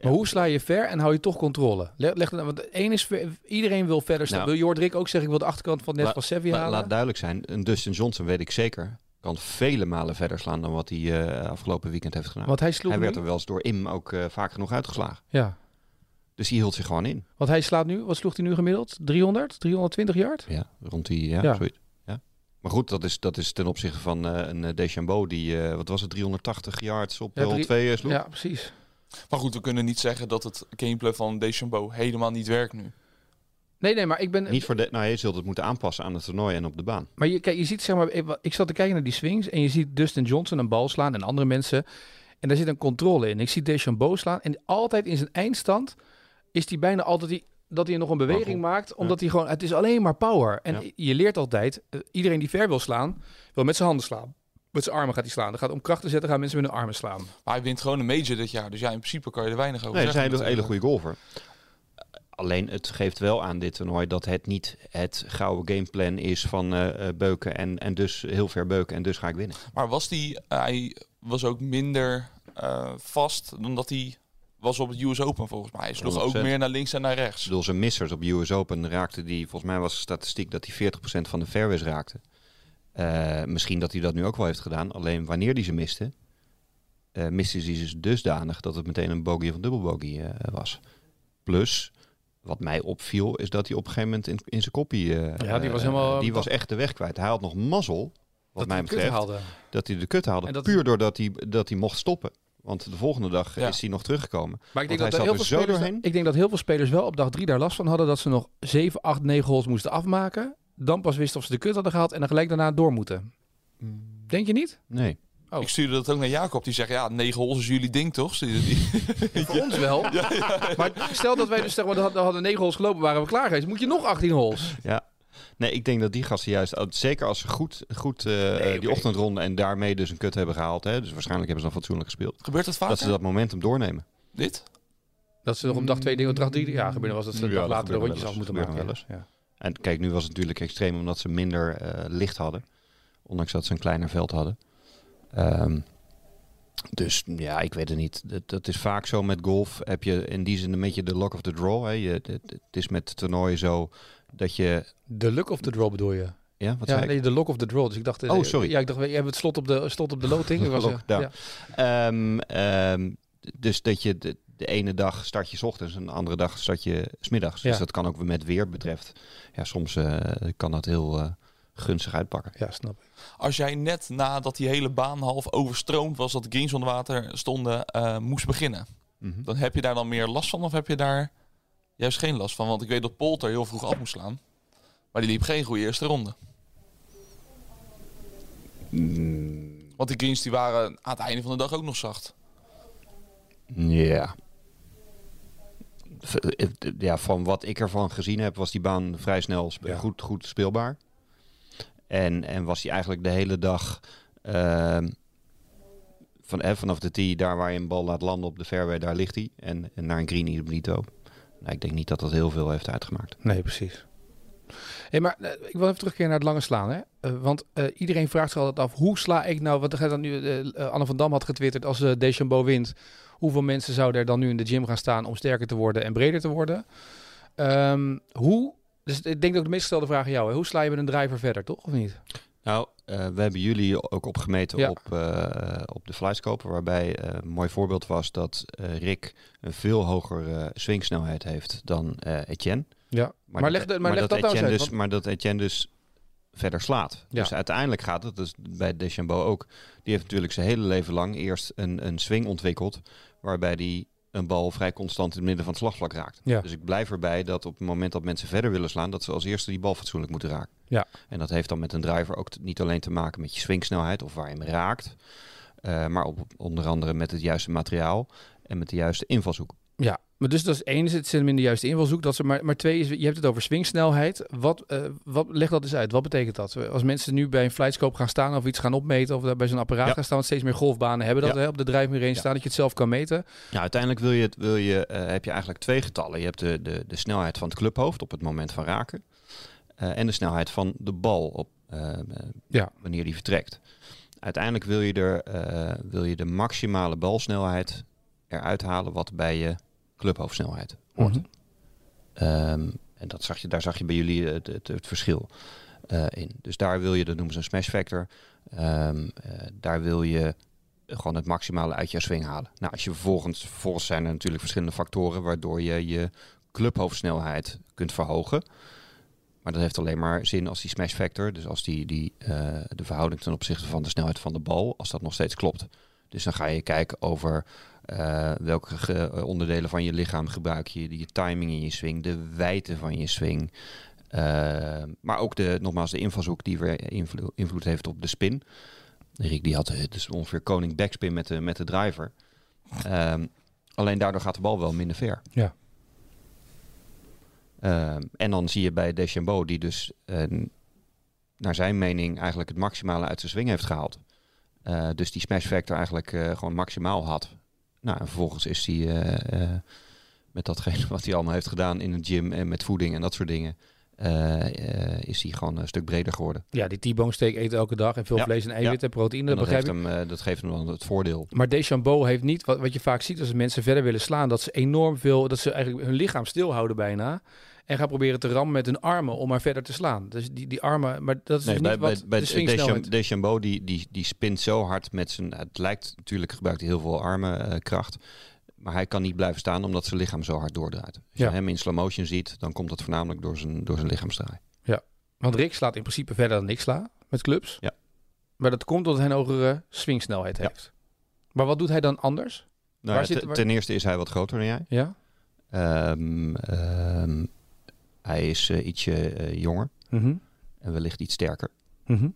[SPEAKER 2] Maar hoe sla je ver en hou je toch controle? Leg, leg, want één is, ver- iedereen wil verder slaan.
[SPEAKER 3] Nou.
[SPEAKER 2] wil je hoort Rick ook zeggen, ik wil de achterkant van het net
[SPEAKER 3] La-
[SPEAKER 2] van Sevi
[SPEAKER 3] la-
[SPEAKER 2] halen.
[SPEAKER 3] laat duidelijk zijn, een Dustin Johnson weet ik zeker... kan vele malen verder slaan dan wat hij eh, afgelopen weekend heeft gedaan.
[SPEAKER 2] want hij sloeg
[SPEAKER 3] hij
[SPEAKER 2] nu.
[SPEAKER 3] werd er wel eens door Im ook eh, vaak genoeg uitgeslagen.
[SPEAKER 2] Ja.
[SPEAKER 3] Dus die hield zich gewoon in.
[SPEAKER 2] Want hij slaat nu, wat sloeg hij nu gemiddeld? 300? 320 yard?
[SPEAKER 3] Ja, rond die, ja,
[SPEAKER 2] Ja.
[SPEAKER 3] zoiets. Ja. Maar goed, dat is, dat is ten opzichte van eh, een eh, Deschambeau die, eh, wat was het, 380 yards op
[SPEAKER 2] Ja,
[SPEAKER 3] hol
[SPEAKER 2] drie-
[SPEAKER 3] 2 eh, sloeg.
[SPEAKER 2] Ja, precies.
[SPEAKER 1] Maar goed, we kunnen niet zeggen dat het gameplay van Deschambeau helemaal niet werkt nu.
[SPEAKER 2] Nee, nee, maar ik ben...
[SPEAKER 3] Niet voor de, nou, je zult het moeten aanpassen aan het toernooi en op de baan.
[SPEAKER 2] Maar je, kijk, je ziet, zeg maar, ik- ik zat te kijken naar die swings en je ziet Dustin Johnson een bal slaan en andere mensen. En daar zit een controle in. Ik zie Deschambeau slaan en altijd in zijn eindstand is hij bijna altijd die, dat hij nog een beweging
[SPEAKER 3] Waffel.
[SPEAKER 2] maakt. Omdat hij gewoon, het is alleen maar power. En
[SPEAKER 3] Ja.
[SPEAKER 2] je leert altijd, eh, iedereen die ver wil slaan, wil met zijn handen slaan. Met zijn armen gaat hij slaan. Dan gaat om kracht te zetten, gaan mensen met hun armen slaan.
[SPEAKER 1] Maar hij wint gewoon een major dit jaar, dus ja, in principe kan je er weinig over
[SPEAKER 3] Nee, hij is
[SPEAKER 1] zeggen.
[SPEAKER 3] een hele, hele
[SPEAKER 1] natuurlijk.
[SPEAKER 3] goede golfer. Alleen het geeft wel aan dit toernooi dat het niet het gouden gameplan is van eh, eh, beuken en, en dus heel ver beuken en dus ga ik winnen.
[SPEAKER 1] Maar was die, eh, hij was ook minder eh, vast dan dat hij was op het US Open volgens mij. Hij sloeg ook
[SPEAKER 3] 100%.
[SPEAKER 1] meer naar links en naar
[SPEAKER 3] Ik
[SPEAKER 1] rechts.
[SPEAKER 3] bedoel, zijn missers op US Open raakte die, volgens mij was de statistiek dat hij 40% van de fairways raakte. Eh, misschien dat hij dat nu ook wel heeft gedaan. Alleen wanneer hij ze miste, eh miste hij ze dusdanig dat het meteen een bogey of een dubbel bogey eh, was. Plus, wat mij opviel, is dat hij op een gegeven moment in, in zijn koppie... eh,
[SPEAKER 2] Ja, die was
[SPEAKER 3] eh,
[SPEAKER 2] helemaal-
[SPEAKER 3] die was echt de weg kwijt. Hij had nog mazzel, wat mij betreft,
[SPEAKER 2] haalde.
[SPEAKER 3] dat hij de kut haalde.
[SPEAKER 2] En dat-
[SPEAKER 3] Puur doordat hij, dat hij mocht stoppen. Want de volgende dag eh,
[SPEAKER 1] Ja.
[SPEAKER 3] is hij nog teruggekomen.
[SPEAKER 2] Maar ik denk,
[SPEAKER 3] Want hij
[SPEAKER 2] dat er
[SPEAKER 3] zat
[SPEAKER 2] heel
[SPEAKER 3] er
[SPEAKER 2] veel
[SPEAKER 3] zo
[SPEAKER 2] spelers,
[SPEAKER 3] doorheen.
[SPEAKER 2] ik denk dat heel veel spelers wel op dag drie daar last van hadden. Dat ze nog 7, 8, 9 holes moesten afmaken. Dan pas wisten of ze de kut hadden gehaald en dan gelijk daarna door moeten. Denk je niet?
[SPEAKER 3] Nee.
[SPEAKER 2] Oh.
[SPEAKER 1] Ik stuurde dat ook naar Jacob. Die zegt, ja, negen holes is jullie ding toch? Die- die-
[SPEAKER 2] Voor ons wel. Maar stel dat wij dus zeg maar, dat hadden- hadden 9 holes gelopen, waren we klaar geweest. Moet je nog 18 holes?
[SPEAKER 3] Ja. Nee, ik denk dat die gasten juist, oh, zeker als ze goed, goed eh, die ochtendronde en daarmee dus een kut hebben gehaald, hè, dus waarschijnlijk hebben ze dan fatsoenlijk gespeeld,
[SPEAKER 1] Gebeurt
[SPEAKER 2] Ah,
[SPEAKER 1] dat vaak?
[SPEAKER 3] dat ze dat momentum doornemen.
[SPEAKER 1] Dit?
[SPEAKER 2] Dat ze nog op dag twee dingen, op dag drie ja, gebeurde was dat ze een
[SPEAKER 3] Ja,
[SPEAKER 2] dag
[SPEAKER 3] dat
[SPEAKER 2] later de
[SPEAKER 3] gebeurt
[SPEAKER 2] rondjes
[SPEAKER 3] wel
[SPEAKER 2] af
[SPEAKER 3] eens.
[SPEAKER 2] moeten
[SPEAKER 3] Gebeurt
[SPEAKER 2] maken.
[SPEAKER 3] wel eens, ja. En kijk, nu was het natuurlijk extreem omdat ze minder eh, licht hadden, ondanks dat ze een kleiner veld hadden. Ehm, dus ja, ik weet het niet. Dat, dat is vaak zo met golf. Heb je in die zin een beetje de lock of the draw. Hè. Je, het, het is met toernooien zo dat je...
[SPEAKER 2] De luck of the draw bedoel je?
[SPEAKER 3] Ja, wat zei
[SPEAKER 2] ja,
[SPEAKER 3] ik?
[SPEAKER 2] nee, de lock of the draw. Dus ik dacht, eh,
[SPEAKER 3] Oh, sorry.
[SPEAKER 2] Ja, ik dacht, je hebt het slot op de, slot op de loting. Ik was, eh,
[SPEAKER 3] Lockdown.
[SPEAKER 2] ja.
[SPEAKER 3] Ehm, ehm, d- dus dat je de, de ene dag start je 's ochtends en de andere dag start je 's middags.
[SPEAKER 2] Ja.
[SPEAKER 3] Dus dat kan ook met weer betreft. Ja, soms eh, kan dat heel eh, gunstig uitpakken.
[SPEAKER 2] ja, snap ik.
[SPEAKER 1] Als jij net nadat die hele baan half overstroomd was, dat de greens onder water stonden, eh, moest beginnen. Dan heb je daar dan meer last van of heb je daar juist geen last van? Want ik weet dat Polter heel vroeg af moest slaan. Maar die liep geen goede eerste ronde. Want die greens die waren aan het einde van de dag ook nog zacht.
[SPEAKER 3] Ja. V- eh, d- Ja, van wat ik ervan gezien heb, was die baan vrij snel sp-
[SPEAKER 2] Ja.
[SPEAKER 3] goed, goed speelbaar. En, en was die eigenlijk de hele dag ehm, van, eh, vanaf de tee, daar waar je een bal laat landen op de fairway, daar ligt hij. En, en naar een green hier op Nito. Nou, ik denk niet dat dat heel veel heeft uitgemaakt.
[SPEAKER 2] Nee, precies. Hey, maar eh, ik wil even terugkeren naar het lange slaan. Hè? Eh, want eh, iedereen vraagt zich altijd af, hoe sla ik nou... Wat gaat dan nu, eh, eh, Anne van Dam had getwitterd, als eh Deschambeau wint... hoeveel mensen zouden er dan nu in de gym gaan staan om sterker te worden en breder te worden? Ehm, hoe... Dus ik denk dat ik de meest gestelde vraag aan jou. Hè? Hoe sla je met een driver verder, toch? Of niet?
[SPEAKER 3] Nou, eh, we hebben jullie ook opgemeten
[SPEAKER 2] Ja.
[SPEAKER 3] op, eh, op de flyscope, waarbij eh, een mooi voorbeeld was dat eh, Rick een veel hogere eh, swingsnelheid heeft dan eh, Etienne.
[SPEAKER 2] Ja. Maar leg de- maar leg dat nou eens
[SPEAKER 3] Etienne
[SPEAKER 2] uit,
[SPEAKER 3] dus, Maar dat Etienne dus verder slaat.
[SPEAKER 2] Ja.
[SPEAKER 3] Dus uiteindelijk gaat het, dat is bij Deschambeau ook, die heeft natuurlijk zijn hele leven lang eerst een, een swing ontwikkeld, waarbij die een bal vrij constant in het midden van het slagvlak raakt.
[SPEAKER 2] Ja.
[SPEAKER 3] Dus ik blijf erbij dat op het moment dat mensen verder willen slaan, dat ze als eerste die bal fatsoenlijk moeten raken.
[SPEAKER 2] Ja.
[SPEAKER 3] En dat heeft dan met een driver ook t- niet alleen te maken met je swingsnelheid of waar je hem raakt, eh, maar op, onder andere met het juiste materiaal en met de juiste invalshoek.
[SPEAKER 2] Ja, maar dus dat is één, zit hem in de juiste invalshoek. Dat ze maar, maar twee is, je hebt het over swingsnelheid. Wat, eh, wat, leg dat eens uit, wat betekent dat? Als mensen nu bij een flightscope gaan staan of iets gaan opmeten... of daar bij zo'n apparaat
[SPEAKER 3] Ja.
[SPEAKER 2] gaan staan, want steeds meer golfbanen hebben dat...
[SPEAKER 3] Ja.
[SPEAKER 2] Hè, op de drijfmuur heen
[SPEAKER 3] Ja.
[SPEAKER 2] staan, dat je het zelf kan meten.
[SPEAKER 3] Nou, uiteindelijk wil je het, wil je, eh, heb je eigenlijk twee getallen. Je hebt de, de, de snelheid van het clubhoofd op het moment van raken. eh, en de snelheid van de bal op, eh, eh,
[SPEAKER 2] Ja.
[SPEAKER 3] wanneer die vertrekt. Uiteindelijk wil je, er, eh, wil je de maximale balsnelheid eruit halen wat bij je clubhoofdsnelheid hoort.
[SPEAKER 2] Mhm.
[SPEAKER 3] Ehm, en dat zag je, daar zag je bij jullie het, het, het verschil eh, in. Dus daar wil je, dat noemen ze een smash factor. Ehm, eh, daar wil je gewoon het maximale uit je swing halen. Nou, als je vervolgens, vervolgens zijn er natuurlijk verschillende factoren waardoor je je clubhoofdsnelheid kunt verhogen. Maar dat heeft alleen maar zin als die smash factor, dus als die, die, eh, de verhouding ten opzichte van de snelheid van de bal, als dat nog steeds klopt. Dus dan ga je kijken over eh, welke ge- eh, onderdelen van je lichaam gebruik je, je timing in je swing, de wijdte van je swing. eh, maar ook de, nogmaals de invalshoek die weer invlo- invloed heeft op de spin. Rick die had eh, dus ongeveer koning backspin met de, met de driver. Ehm, alleen daardoor gaat de bal wel minder ver.
[SPEAKER 2] Ja.
[SPEAKER 3] Ehm, en dan zie je bij Deschambeau, die dus eh, naar zijn mening eigenlijk het maximale uit zijn swing heeft gehaald. Eh, dus die smash factor eigenlijk eh, gewoon maximaal had. Nou, en vervolgens is hij eh, eh, met datgene wat hij allemaal heeft gedaan in een gym en met voeding en dat soort dingen, eh, eh, is hij gewoon een stuk breder geworden.
[SPEAKER 2] Ja, die T-bone steak eet elke dag en veel
[SPEAKER 3] Ja.
[SPEAKER 2] vlees en eiwit en proteïne,
[SPEAKER 3] En
[SPEAKER 2] dat
[SPEAKER 3] dat,
[SPEAKER 2] begrijp
[SPEAKER 3] heeft
[SPEAKER 2] ik.
[SPEAKER 3] hem, eh, dat geeft hem dan het voordeel.
[SPEAKER 2] Maar Deschambeau heeft niet, wat, wat je vaak ziet als mensen verder willen slaan, dat ze enorm veel, dat ze eigenlijk hun lichaam stilhouden bijna. En gaan proberen te rammen met hun armen om maar verder te slaan. Dus die, die armen, maar dat is dus niet wat de
[SPEAKER 3] Descham-
[SPEAKER 2] swingsnelheid...
[SPEAKER 3] Deschambeau die, die, die spint zo hard met zijn... Het lijkt natuurlijk, gebruikt hij heel veel armenkracht. maar hij kan niet blijven staan omdat zijn lichaam zo hard doordraait. Als
[SPEAKER 2] Ja.
[SPEAKER 3] je hem in slow motion ziet, dan komt dat voornamelijk door zijn, door zijn lichaamsdraai.
[SPEAKER 2] Want Rick slaat in principe verder dan ik sla met clubs.
[SPEAKER 3] Ja.
[SPEAKER 2] Maar dat komt omdat hij een hogere swingsnelheid
[SPEAKER 3] Ja.
[SPEAKER 2] heeft. Maar wat doet hij dan anders?
[SPEAKER 3] Nou, ja,
[SPEAKER 2] zit-
[SPEAKER 3] te-
[SPEAKER 2] waar-
[SPEAKER 3] Ten eerste is hij wat groter dan jij.
[SPEAKER 2] Ja.
[SPEAKER 3] Ehm, ehm, hij is eh, ietsje eh, jonger
[SPEAKER 2] Mhm.
[SPEAKER 3] en wellicht iets sterker.
[SPEAKER 2] Mhm.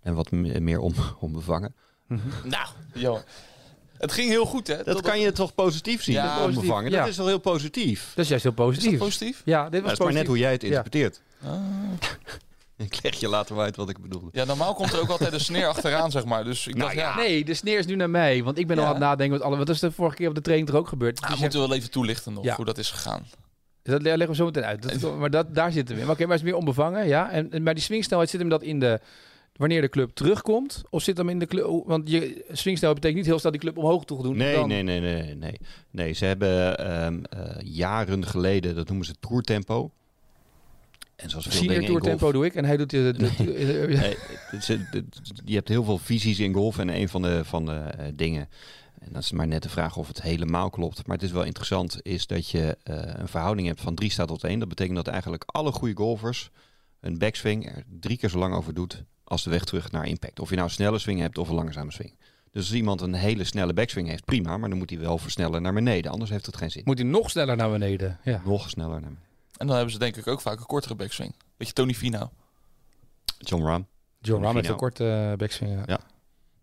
[SPEAKER 3] En wat me- meer on, onbevangen.
[SPEAKER 1] Ja. Het ging heel goed, hè?
[SPEAKER 3] Dat, kan je toch positief zien,
[SPEAKER 1] Ja,
[SPEAKER 3] dat
[SPEAKER 1] positief,
[SPEAKER 3] onbevangen?
[SPEAKER 2] ja.
[SPEAKER 3] Dat is toch heel positief?
[SPEAKER 2] Dat is juist heel
[SPEAKER 1] Is dat
[SPEAKER 2] positief.
[SPEAKER 1] positief?
[SPEAKER 2] Ja, dit
[SPEAKER 3] Dat
[SPEAKER 2] was
[SPEAKER 3] is maar net
[SPEAKER 2] positief.
[SPEAKER 3] hoe jij het interpreteert.
[SPEAKER 1] Ah.
[SPEAKER 3] Ik leg je later wel uit wat ik bedoelde.
[SPEAKER 1] Ja, normaal komt er ook altijd een sneer achteraan, zeg maar. Dus ik
[SPEAKER 3] Nou
[SPEAKER 1] dacht, ja,
[SPEAKER 2] Nee, de sneer is nu naar mij. Want ik ben al
[SPEAKER 1] Ja.
[SPEAKER 2] aan het nadenken. Wat, alle, wat is de vorige keer op de training er ook
[SPEAKER 1] ah,
[SPEAKER 2] gebeurd? Dus
[SPEAKER 1] we
[SPEAKER 2] je zegt-
[SPEAKER 1] moeten wel even toelichten nog
[SPEAKER 2] Ja.
[SPEAKER 1] hoe dat is gegaan.
[SPEAKER 2] dat le- leggen we zo meteen uit. Dat, maar dat, daar zitten we in. Maar Oké, maar is het meer onbevangen? Ja. En, en- maar die swingsnelheid zit hem dat in de... Wanneer de club terugkomt? Of zit hem in de club... Want je swingsnelheid betekent niet heel snel die club omhoog toe doen.
[SPEAKER 3] Nee,
[SPEAKER 2] Dan-
[SPEAKER 3] nee, nee, nee, nee. Nee, ze hebben ehm, eh, jaren geleden, dat noemen ze toertempo. En zoals veel
[SPEAKER 2] Senior
[SPEAKER 3] dingen
[SPEAKER 2] Tour
[SPEAKER 3] in golf,
[SPEAKER 2] tempo doe ik. En hij doet... eh, De, de, de-
[SPEAKER 3] Nee, het is- het- het- je hebt heel veel visies in golf en een van de, van de eh, dingen, en dat is maar net de vraag of het helemaal klopt, maar het is wel interessant, is dat je eh, een verhouding hebt van 3 staat tot 1. Dat betekent dat eigenlijk alle goede golfers een backswing er drie keer zo lang over doet als de weg terug naar impact. Of je nou een snelle swing hebt of een langzame swing. Dus als iemand een hele snelle backswing heeft, prima, maar dan moet hij wel versnellen naar beneden, anders heeft het geen zin.
[SPEAKER 2] moet hij nog sneller naar beneden. Ja.
[SPEAKER 3] Nog sneller naar beneden.
[SPEAKER 1] En dan hebben ze denk ik ook vaak een kortere backswing. Weet je, Tony Fino.
[SPEAKER 3] John Rahm.
[SPEAKER 2] John Rahm heeft
[SPEAKER 3] Fino.
[SPEAKER 2] een korte eh, backswing. ja.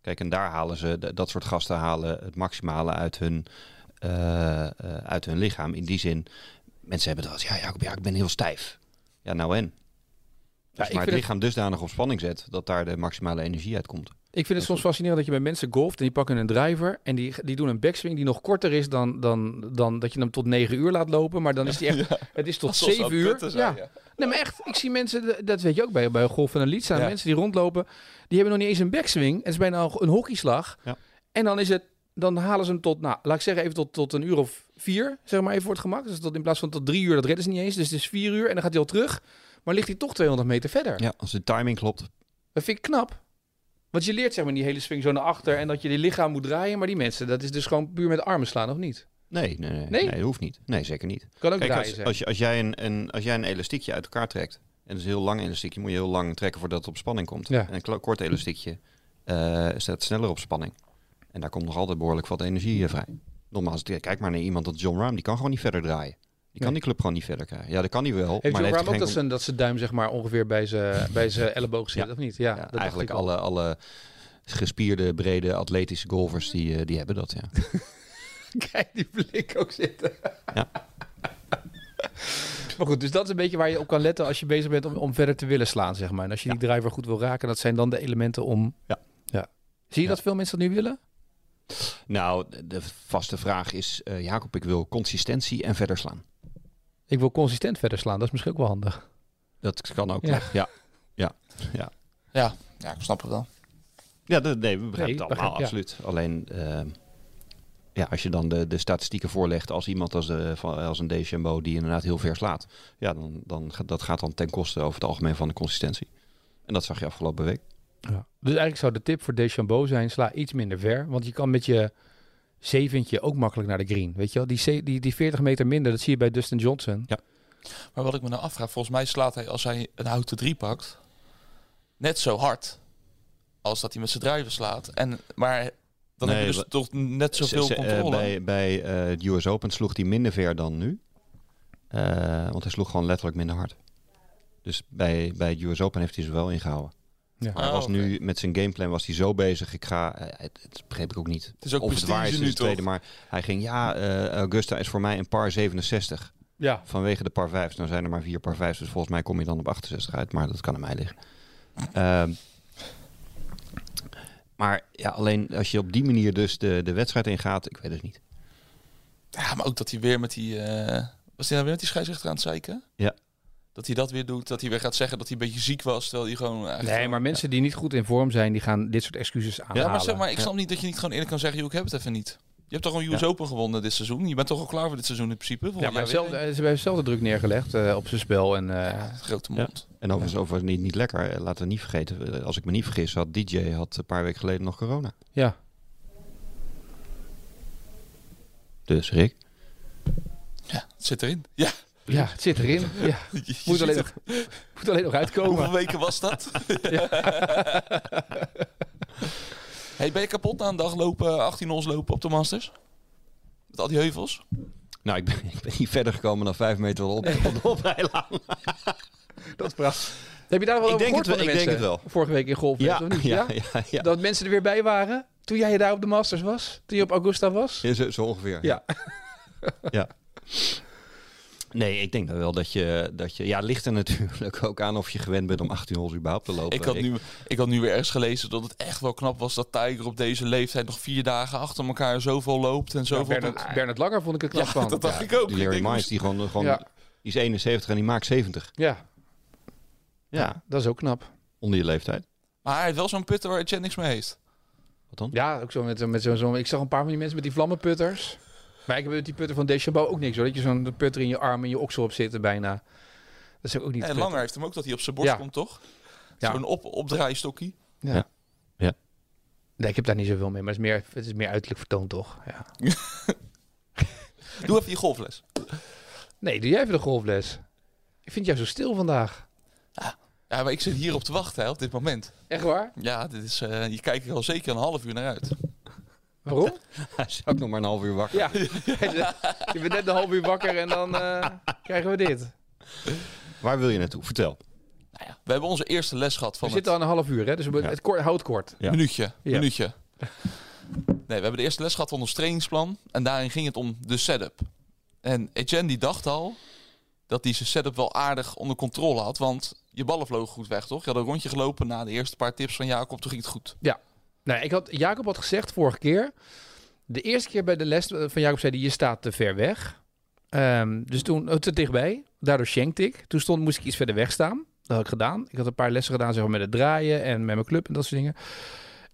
[SPEAKER 3] Kijk, en daar halen ze, d- dat soort gasten halen het maximale uit hun, eh, eh, uit hun lichaam. In die zin, mensen hebben dat als, ja, Jacob, ja, ik ben heel stijf. Ja, nou en? Als je
[SPEAKER 2] ik
[SPEAKER 3] maar
[SPEAKER 2] vind
[SPEAKER 3] het
[SPEAKER 2] het-
[SPEAKER 3] lichaam dusdanig op spanning zet, dat daar de maximale energie uit komt.
[SPEAKER 2] Ik vind het soms fascinerend dat je bij mensen golft en die pakken een driver en die, die doen een backswing die nog korter is dan, dan, dan dat je hem tot negen uur laat lopen. Maar dan is die echt, het is tot
[SPEAKER 1] Alsof ze
[SPEAKER 2] zeven
[SPEAKER 1] aan het
[SPEAKER 2] uur.
[SPEAKER 1] kutten
[SPEAKER 2] ja.
[SPEAKER 1] zijn, ja.
[SPEAKER 2] Nee, maar echt, ik zie mensen, de- dat weet je ook bij, bij golf en een lied staan,
[SPEAKER 1] Ja.
[SPEAKER 2] mensen die rondlopen, die hebben nog niet eens een backswing. Het is bijna al een hockeyslag.
[SPEAKER 3] Ja.
[SPEAKER 2] En dan is het, dan halen ze hem tot, nou, laat ik zeggen even tot, tot een uur of vier, zeg maar even voor het gemak. Dus tot, in plaats van tot drie uur, dat redden ze niet eens. Dus het is vier uur en dan gaat hij al terug, maar ligt hij toch 200 meter verder.
[SPEAKER 3] Ja, als de timing klopt.
[SPEAKER 2] Dat vind ik knap. Want je leert zeg maar die hele swing zo naar achter en dat je die lichaam moet draaien. Maar die mensen, dat is dus gewoon puur met armen slaan, of niet?
[SPEAKER 3] Nee, nee, nee,
[SPEAKER 2] Nee?
[SPEAKER 3] nee? dat hoeft niet. Nee, zeker niet.
[SPEAKER 2] Kan ook
[SPEAKER 3] Kijk,
[SPEAKER 2] draaien
[SPEAKER 3] als,
[SPEAKER 2] zijn.
[SPEAKER 3] als, je, als, jij een, een, als jij een elastiekje uit elkaar trekt, en dat is een heel lang elastiekje, moet je heel lang trekken voordat het op spanning komt.
[SPEAKER 2] Ja.
[SPEAKER 3] En een kla- kort elastiekje eh staat sneller op spanning. En daar komt nog altijd behoorlijk wat energie eh, vrij. Nogmaals, t- kijk maar naar iemand als John Rahm, die kan gewoon niet verder draaien. Die
[SPEAKER 2] Nee.
[SPEAKER 3] kan die club gewoon niet verder krijgen. Ja, dat kan hij wel. maar
[SPEAKER 2] Heeft John
[SPEAKER 3] hij
[SPEAKER 2] Rahm
[SPEAKER 3] heeft
[SPEAKER 2] ook
[SPEAKER 3] geen
[SPEAKER 2] dat zijn, dat zijn duim zeg maar ongeveer bij zijn bij zijn elleboog zit,
[SPEAKER 3] Ja.
[SPEAKER 2] of niet? Ja,
[SPEAKER 3] Ja,
[SPEAKER 2] dat dacht
[SPEAKER 3] eigenlijk
[SPEAKER 2] ik al.
[SPEAKER 3] alle, alle gespierde, brede, atletische golfers, die, eh, die hebben dat, ja.
[SPEAKER 2] Kijk die blik ook zitten.
[SPEAKER 3] Ja.
[SPEAKER 2] maar goed, dus dat is een beetje waar je op kan letten als je bezig bent om, om verder te willen slaan, zeg maar. En als je die driver goed wil raken, dat zijn dan de elementen om...
[SPEAKER 3] Ja.
[SPEAKER 2] ja. Zie je
[SPEAKER 3] Ja.
[SPEAKER 2] dat veel mensen dat nu willen?
[SPEAKER 3] Nou, de- de vaste vraag is, eh, Jacob, ik wil consistentie en verder slaan.
[SPEAKER 2] Ik wil consistent verder slaan, dat is misschien ook wel handig.
[SPEAKER 3] Dat kan ook,
[SPEAKER 2] Ja.
[SPEAKER 3] nog, ja.
[SPEAKER 1] Ja. ja, ik snap het wel.
[SPEAKER 3] Ja, dat, nee, we begrijpen
[SPEAKER 2] Nee,
[SPEAKER 3] het allemaal,
[SPEAKER 2] begrijp-
[SPEAKER 3] absoluut. Alleen, ehm, ja, als je dan de, de statistieken voorlegt als iemand als, eh, van, als een DCMO die inderdaad heel ver slaat, ja, dan, dan gaat- dat gaat dan ten koste over het algemeen van de consistentie. En dat zag je afgelopen week.
[SPEAKER 2] Dus eigenlijk zou de tip voor Deschambeau zijn, sla iets minder ver. Want je kan met je zeventje ook makkelijk naar de green. Weet je wel, die, ze- die, die 40 meter minder, dat zie je bij Dustin Johnson.
[SPEAKER 1] Maar wat ik me nou afvraag, volgens mij slaat hij als hij een houten drie pakt, net zo hard als dat hij met zijn druiven slaat. En, maar dan
[SPEAKER 3] Nee,
[SPEAKER 1] heb je dus
[SPEAKER 3] wa-
[SPEAKER 1] toch net zoveel
[SPEAKER 3] Ze- ze- eh,
[SPEAKER 1] controle.
[SPEAKER 3] bij bij eh, het US Open sloeg hij minder ver dan nu. Eh, want hij sloeg gewoon letterlijk minder hard. Dus bij, bij het US Open heeft hij ze wel ingehouden.
[SPEAKER 2] Ja.
[SPEAKER 3] Maar hij
[SPEAKER 1] Ah,
[SPEAKER 3] was
[SPEAKER 1] oké.
[SPEAKER 3] nu met zijn gameplan was hij zo bezig. Ik ga, eh, het, het begreep ik ook niet.
[SPEAKER 1] het is ook
[SPEAKER 3] of het waar
[SPEAKER 1] prestige
[SPEAKER 3] is, is
[SPEAKER 1] nu
[SPEAKER 3] het
[SPEAKER 1] toch?
[SPEAKER 3] tweede. Maar hij ging, ja, eh, Augusta is voor mij een par 67.
[SPEAKER 2] Ja.
[SPEAKER 3] Vanwege de par 5. Nou zijn er maar vier par 5. Dus volgens mij kom je dan op 68 uit. Maar dat kan aan mij liggen. Ehm, maar ja, alleen als je op die manier dus de, de wedstrijd ingaat, ik weet het niet.
[SPEAKER 1] Ja, maar ook dat hij weer met die... eh, was hij nou weer met die scheidsrechter aan het zeiken?
[SPEAKER 3] Ja.
[SPEAKER 1] Dat hij dat weer doet, dat hij weer gaat zeggen dat hij een beetje ziek was, terwijl hij gewoon... eigenlijk-
[SPEAKER 2] Nee, maar mensen die niet goed in vorm zijn, die gaan dit soort excuses aanhalen.
[SPEAKER 1] Ja, maar zeg maar, ik
[SPEAKER 3] Ja.
[SPEAKER 1] snap niet dat je niet gewoon eerlijk kan zeggen, joh, ik heb het even niet. Je hebt toch gewoon US Open gewonnen dit seizoen? Je bent toch al klaar voor dit seizoen in principe? Volgend
[SPEAKER 2] Ja, maar
[SPEAKER 1] jaar weer
[SPEAKER 2] hetzelfde- eh, ze hebben hetzelfde druk neergelegd eh, op zijn spel. En, eh,
[SPEAKER 1] een Grote mond.
[SPEAKER 3] En overigens, overigens niet, niet lekker. Eh, Laten we niet vergeten, eh, als ik me niet vergis, had DJ had een paar weken geleden nog corona.
[SPEAKER 2] ja.
[SPEAKER 3] Dus Rick,
[SPEAKER 1] Het zit erin. Ja,
[SPEAKER 2] ja, het zit erin. Ja.
[SPEAKER 1] je- je
[SPEAKER 2] Moet,
[SPEAKER 1] ziet
[SPEAKER 2] alleen
[SPEAKER 1] het.
[SPEAKER 2] nog, moet alleen nog uitkomen.
[SPEAKER 1] Hoeveel weken was dat? hey, ben je kapot na een dag lopen, 18 ons lopen op de Masters? Met al die heuvels?
[SPEAKER 3] nou ik ben, ik ben niet verder gekomen dan vijf meter op, op de oprijlaan.
[SPEAKER 2] Dat is prachtig. Heb je daar wel
[SPEAKER 3] Ik
[SPEAKER 2] over
[SPEAKER 3] denk
[SPEAKER 2] gehoord
[SPEAKER 3] het wel,
[SPEAKER 2] van de
[SPEAKER 3] ik denk
[SPEAKER 2] mensen
[SPEAKER 3] het
[SPEAKER 2] Vorige week in golf, of niet?
[SPEAKER 3] ja, ja, ja.
[SPEAKER 2] Dat mensen er weer bij waren toen jij daar op de Masters was? Toen je op Augusta was?
[SPEAKER 3] Ja, zo, zo ongeveer.
[SPEAKER 2] Ja.
[SPEAKER 3] ja. Nee, ik denk dan wel dat je, dat je... Ja, het ligt er natuurlijk ook aan of je gewend bent om 18 holes überhaupt te lopen.
[SPEAKER 1] Ik
[SPEAKER 2] eh,
[SPEAKER 1] had, nu, ik had nu weer ergens gelezen dat het echt wel knap was dat Tiger op deze leeftijd nog vier dagen achter elkaar zoveel loopt en
[SPEAKER 2] Zo
[SPEAKER 1] zoveel.
[SPEAKER 2] Bernard, Bernard Langer vond ik het knap
[SPEAKER 1] ja,
[SPEAKER 2] van.
[SPEAKER 1] dat dacht ik
[SPEAKER 3] Ja,
[SPEAKER 1] ook.
[SPEAKER 3] Die
[SPEAKER 1] Ik
[SPEAKER 3] Larry
[SPEAKER 1] denk,
[SPEAKER 3] Miles, die gewoon... gewoon
[SPEAKER 2] Ja.
[SPEAKER 3] Die is 71 en die maakt 70.
[SPEAKER 2] Ja,
[SPEAKER 3] Ja,
[SPEAKER 2] dat is ook knap.
[SPEAKER 3] onder je leeftijd.
[SPEAKER 1] Maar hij heeft wel zo'n putter waar Etienne niks mee heeft.
[SPEAKER 3] Wat dan?
[SPEAKER 2] Ja, ook zo met, met zo'n... zo'n- ik zag een paar van die mensen met die vlammenputters. Maar ik heb met die putter van Deschambault ook niks hoor. Dat je zo'n putter in je arm en je oksel op zitten bijna. Dat is ook niet
[SPEAKER 1] En
[SPEAKER 2] prettig.
[SPEAKER 1] Langer heeft hem ook dat hij op zijn borst
[SPEAKER 2] Ja.
[SPEAKER 1] komt, toch?
[SPEAKER 2] Ja.
[SPEAKER 1] Zo'n op, opdraaistokkie.
[SPEAKER 2] Nee, ik heb daar niet zoveel mee. Maar het is meer, het is meer uiterlijk vertoond toch? Ja.
[SPEAKER 1] Doe even je golfles.
[SPEAKER 2] Nee, doe jij even de golfles. Ik vind jou zo stil vandaag.
[SPEAKER 1] Ja, maar ik zit hierop te wachten hè, op dit moment.
[SPEAKER 2] Echt waar?
[SPEAKER 1] Ja, dit is, eh je kijkt er al zeker een half uur naar uit.
[SPEAKER 2] Waarom?
[SPEAKER 3] Hij is ook nog maar een half uur wakker.
[SPEAKER 2] Ja, je bent net een half uur wakker en dan eh, krijgen we dit.
[SPEAKER 3] Waar wil je naartoe? Vertel.
[SPEAKER 1] Nou ja, we hebben onze eerste les gehad
[SPEAKER 2] We
[SPEAKER 1] van het
[SPEAKER 2] zitten al een half uur, hè? dus we-
[SPEAKER 3] Ja.
[SPEAKER 2] het kort, houd kort.
[SPEAKER 3] Ja.
[SPEAKER 1] minuutje.
[SPEAKER 2] Ja.
[SPEAKER 1] minuutje. Nee, we hebben de eerste les gehad van ons trainingsplan. En daarin ging het om de setup. En Etienne die dacht al dat hij zijn setup wel aardig onder controle had. Want je ballen vlogen goed weg, toch? Je had een rondje gelopen na de eerste paar tips van Jacob. Toen ging het goed.
[SPEAKER 2] Nou, ik had, Jacob had gezegd vorige keer, de eerste keer bij de les eh, van Jacob zei hij, je staat te ver weg. Ehm, dus toen, eh, te dichtbij, daardoor schenkte ik. Toen stond, moest ik iets verder weg staan. Dat had ik gedaan. Ik had een paar lessen gedaan zeg maar, met het draaien en met mijn club en dat soort dingen.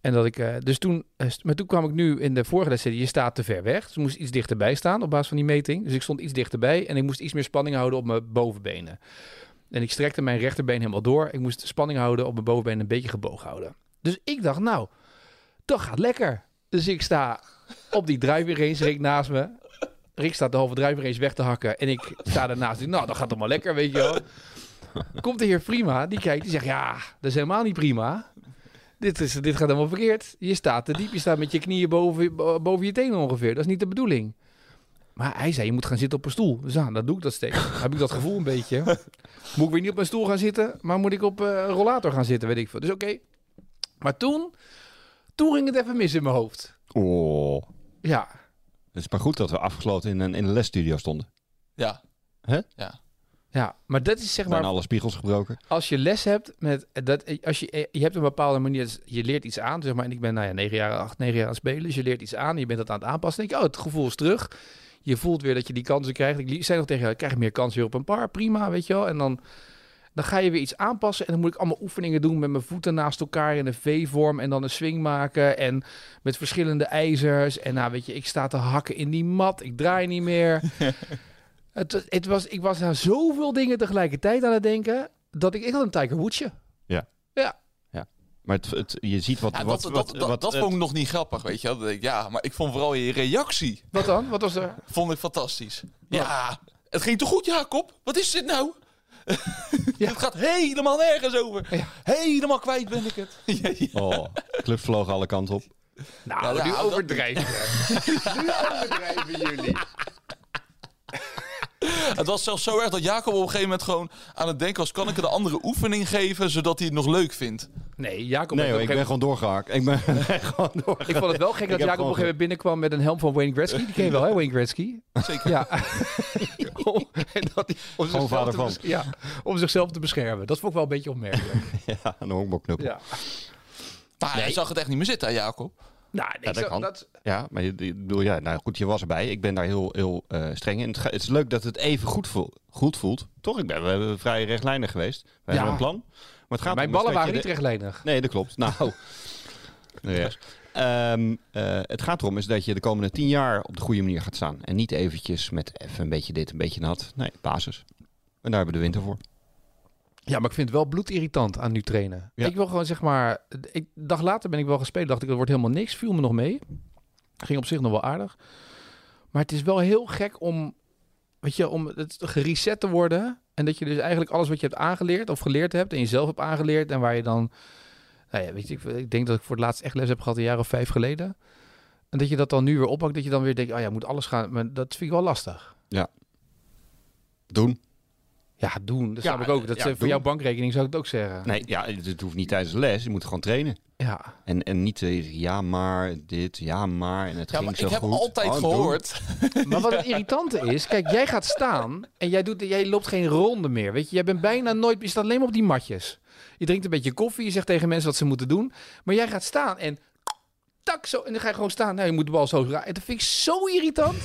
[SPEAKER 2] En dat ik, eh, dus toen, eh, st- maar toen kwam ik nu in de vorige les, zei hij, je staat te ver weg. Dus ik moest iets dichterbij staan op basis van die meting. Dus ik stond iets dichterbij en ik moest iets meer spanning houden op mijn bovenbenen. En ik strekte mijn rechterbeen helemaal door. Ik moest spanning houden op mijn bovenbeen en een beetje gebogen houden. Dus ik dacht, nou, dat gaat lekker. Dus ik sta op die driving range, Rick naast me. Rick staat de halve driving range weg te hakken. En ik sta daarnaast. Ik, nou, dat gaat allemaal lekker, weet je wel. Komt de heer Prima, die kijkt, die zegt... Ja, dat is helemaal niet prima. Dit, is, dit gaat helemaal verkeerd. Je staat te diep, je staat met je knieën boven, bo- boven je tenen ongeveer. Dat is niet de bedoeling. Maar hij zei, je moet gaan zitten op een stoel. Dus nou, dat doe ik dat steeds. Dan heb ik dat gevoel een beetje. Moet ik weer niet op mijn stoel gaan zitten, maar moet ik op eh, een rollator gaan zitten, weet ik veel. Dus oké. Maar toen, toen ging het even mis in mijn hoofd.
[SPEAKER 3] Oh.
[SPEAKER 2] Ja,
[SPEAKER 3] Het is maar goed dat we afgesloten in een, in een lesstudio stonden.
[SPEAKER 1] Ja.
[SPEAKER 2] ja. maar dat is zeg maar
[SPEAKER 3] Bijna alle spiegels gebroken.
[SPEAKER 2] als je les hebt met dat, als je, je hebt een bepaalde manier, dus je leert iets aan, zeg maar. En ik ben, nou ja, negen jaar, acht, negen jaar aan het spelen, dus je leert iets aan, je bent dat aan het aanpassen. Dan denk je, oh, het gevoel is terug. Je voelt weer dat je die kansen krijgt. Ik li- zei nog tegen jou, ik krijg meer kansen weer op een paar, prima, weet je wel. En dan, dan ga je weer iets aanpassen en dan moet ik allemaal oefeningen doen met mijn voeten naast elkaar in een V-vorm en dan een swing maken en met verschillende ijzers. En nou, weet je, ik sta te hakken in die mat, ik draai niet meer. het, het was, ik was aan zoveel dingen tegelijkertijd aan het denken dat ik, ik had een Tiger Woodsje.
[SPEAKER 3] Maar het, het- je ziet wat...
[SPEAKER 1] Ja,
[SPEAKER 3] wat,
[SPEAKER 1] dat,
[SPEAKER 3] wat,
[SPEAKER 1] dat, dat,
[SPEAKER 3] wat-
[SPEAKER 1] dat
[SPEAKER 3] het-
[SPEAKER 1] vond ik nog niet grappig, weet je wel. Dat ik, Ja, maar ik vond vooral je reactie
[SPEAKER 2] Wat dan? Wat was er?
[SPEAKER 1] vond ik fantastisch. Ja, het ging toch goed, Jacob? Wat is dit nou? het gaat helemaal nergens over.
[SPEAKER 2] Ja.
[SPEAKER 1] Helemaal kwijt ben ik het. Ja, ja.
[SPEAKER 3] Oh, club vloog alle kanten op.
[SPEAKER 2] Nou,
[SPEAKER 1] Ja,
[SPEAKER 2] nu
[SPEAKER 1] nou,
[SPEAKER 2] overdrijven. je. nu overdrijven jullie.
[SPEAKER 1] Het was zelfs zo erg dat Jacob op een gegeven moment gewoon aan het denken was... kan ik er een andere oefening geven, zodat hij het nog leuk vindt?
[SPEAKER 2] Nee, Jacob.
[SPEAKER 3] Nee
[SPEAKER 2] heeft
[SPEAKER 3] hoor,
[SPEAKER 2] op
[SPEAKER 3] ik
[SPEAKER 2] een gegeven
[SPEAKER 3] ben gewoon doorgehakt. Ik ben gewoon
[SPEAKER 2] moment-
[SPEAKER 3] doorgehakt.
[SPEAKER 2] ik vond het wel gek dat
[SPEAKER 3] heb
[SPEAKER 2] Jacob op een
[SPEAKER 3] gewoon-
[SPEAKER 2] gegeven moment binnenkwam met een helm van Wayne Gretzky. Die ken je wel, hè, Wayne Gretzky?
[SPEAKER 1] Zeker.
[SPEAKER 2] Ja. om, en dat hij, om, zichzelf
[SPEAKER 3] vader
[SPEAKER 2] te
[SPEAKER 3] van.
[SPEAKER 2] bes- ja, om zichzelf te beschermen. Dat vond ik wel een beetje opmerkelijk.
[SPEAKER 3] Ja, een honkbalknuppel. Ja.
[SPEAKER 2] ja.
[SPEAKER 1] Maar hij zag het echt niet meer zitten, hè, Jacob.
[SPEAKER 2] Nou, ik
[SPEAKER 3] dat
[SPEAKER 2] zou-
[SPEAKER 3] kan. maar je- je- ik bedoel, ja, nou goed, je was erbij. Ik ben daar heel, heel eh, streng in. Het, ga- het is leuk dat het even goed, voel, goed voelt. Toch? Ik ben, we hebben vrij rechtlijnig geweest. We hebben een plan. Maar het gaat
[SPEAKER 2] Mijn
[SPEAKER 3] erom is
[SPEAKER 2] ballen
[SPEAKER 3] dat
[SPEAKER 2] waren
[SPEAKER 3] je
[SPEAKER 2] niet Oh.
[SPEAKER 3] de-
[SPEAKER 2] rechtlijnig.
[SPEAKER 3] Nee, dat klopt. Nou. nou ja. Ehm, eh, het gaat erom is dat je de komende tien jaar op de goede manier gaat staan. En niet eventjes met even een beetje dit, een beetje nat. Nee, basis. En daar hebben we de winter voor.
[SPEAKER 2] Ja, maar ik vind het wel bloedirritant aan nu trainen.
[SPEAKER 3] Ja.
[SPEAKER 2] Ik wil gewoon zeg maar... Ik, een dag later ben ik wel gespeeld. Dacht ik, dat wordt helemaal niks. Viel me nog mee. Ging op zich nog wel aardig. Maar het is wel heel gek om... Weet je, om het gereset te worden. En dat je dus eigenlijk alles wat je hebt aangeleerd of geleerd hebt... en jezelf hebt aangeleerd en waar je dan... Nou ja, weet je, ik, ik denk dat ik voor het laatst echt les heb gehad een jaar of vijf geleden. En dat je dat dan nu weer oppakt. Dat je dan weer denkt, oh ja, moet alles gaan. Maar dat vind ik wel lastig.
[SPEAKER 3] Doen.
[SPEAKER 2] Ja, doen. Dat
[SPEAKER 3] Ja,
[SPEAKER 2] snap ik ook. Dat
[SPEAKER 3] ja,
[SPEAKER 2] is- voor
[SPEAKER 3] doen.
[SPEAKER 2] jouw bankrekening zou ik het ook zeggen.
[SPEAKER 3] Nee, ja, het, het hoeft niet tijdens de les. Je moet gewoon trainen.
[SPEAKER 2] Ja.
[SPEAKER 3] En, en niet eh, ja maar dit, ja maar en het
[SPEAKER 1] Ja,
[SPEAKER 3] ging
[SPEAKER 1] maar
[SPEAKER 3] zo
[SPEAKER 1] ik heb
[SPEAKER 3] goed.
[SPEAKER 1] altijd
[SPEAKER 3] Oh, doe.
[SPEAKER 1] gehoord.
[SPEAKER 2] Maar wat het irritante is, kijk, jij gaat staan en jij, doet, jij loopt geen ronde meer. Weet je, jij bent bijna nooit, je staat alleen maar op die matjes. Je drinkt een beetje koffie, je zegt tegen mensen wat ze moeten doen. Maar jij gaat staan en tak zo, en dan ga je gewoon staan. Nou, je moet de bal zo raken. En dat vind ik zo irritant.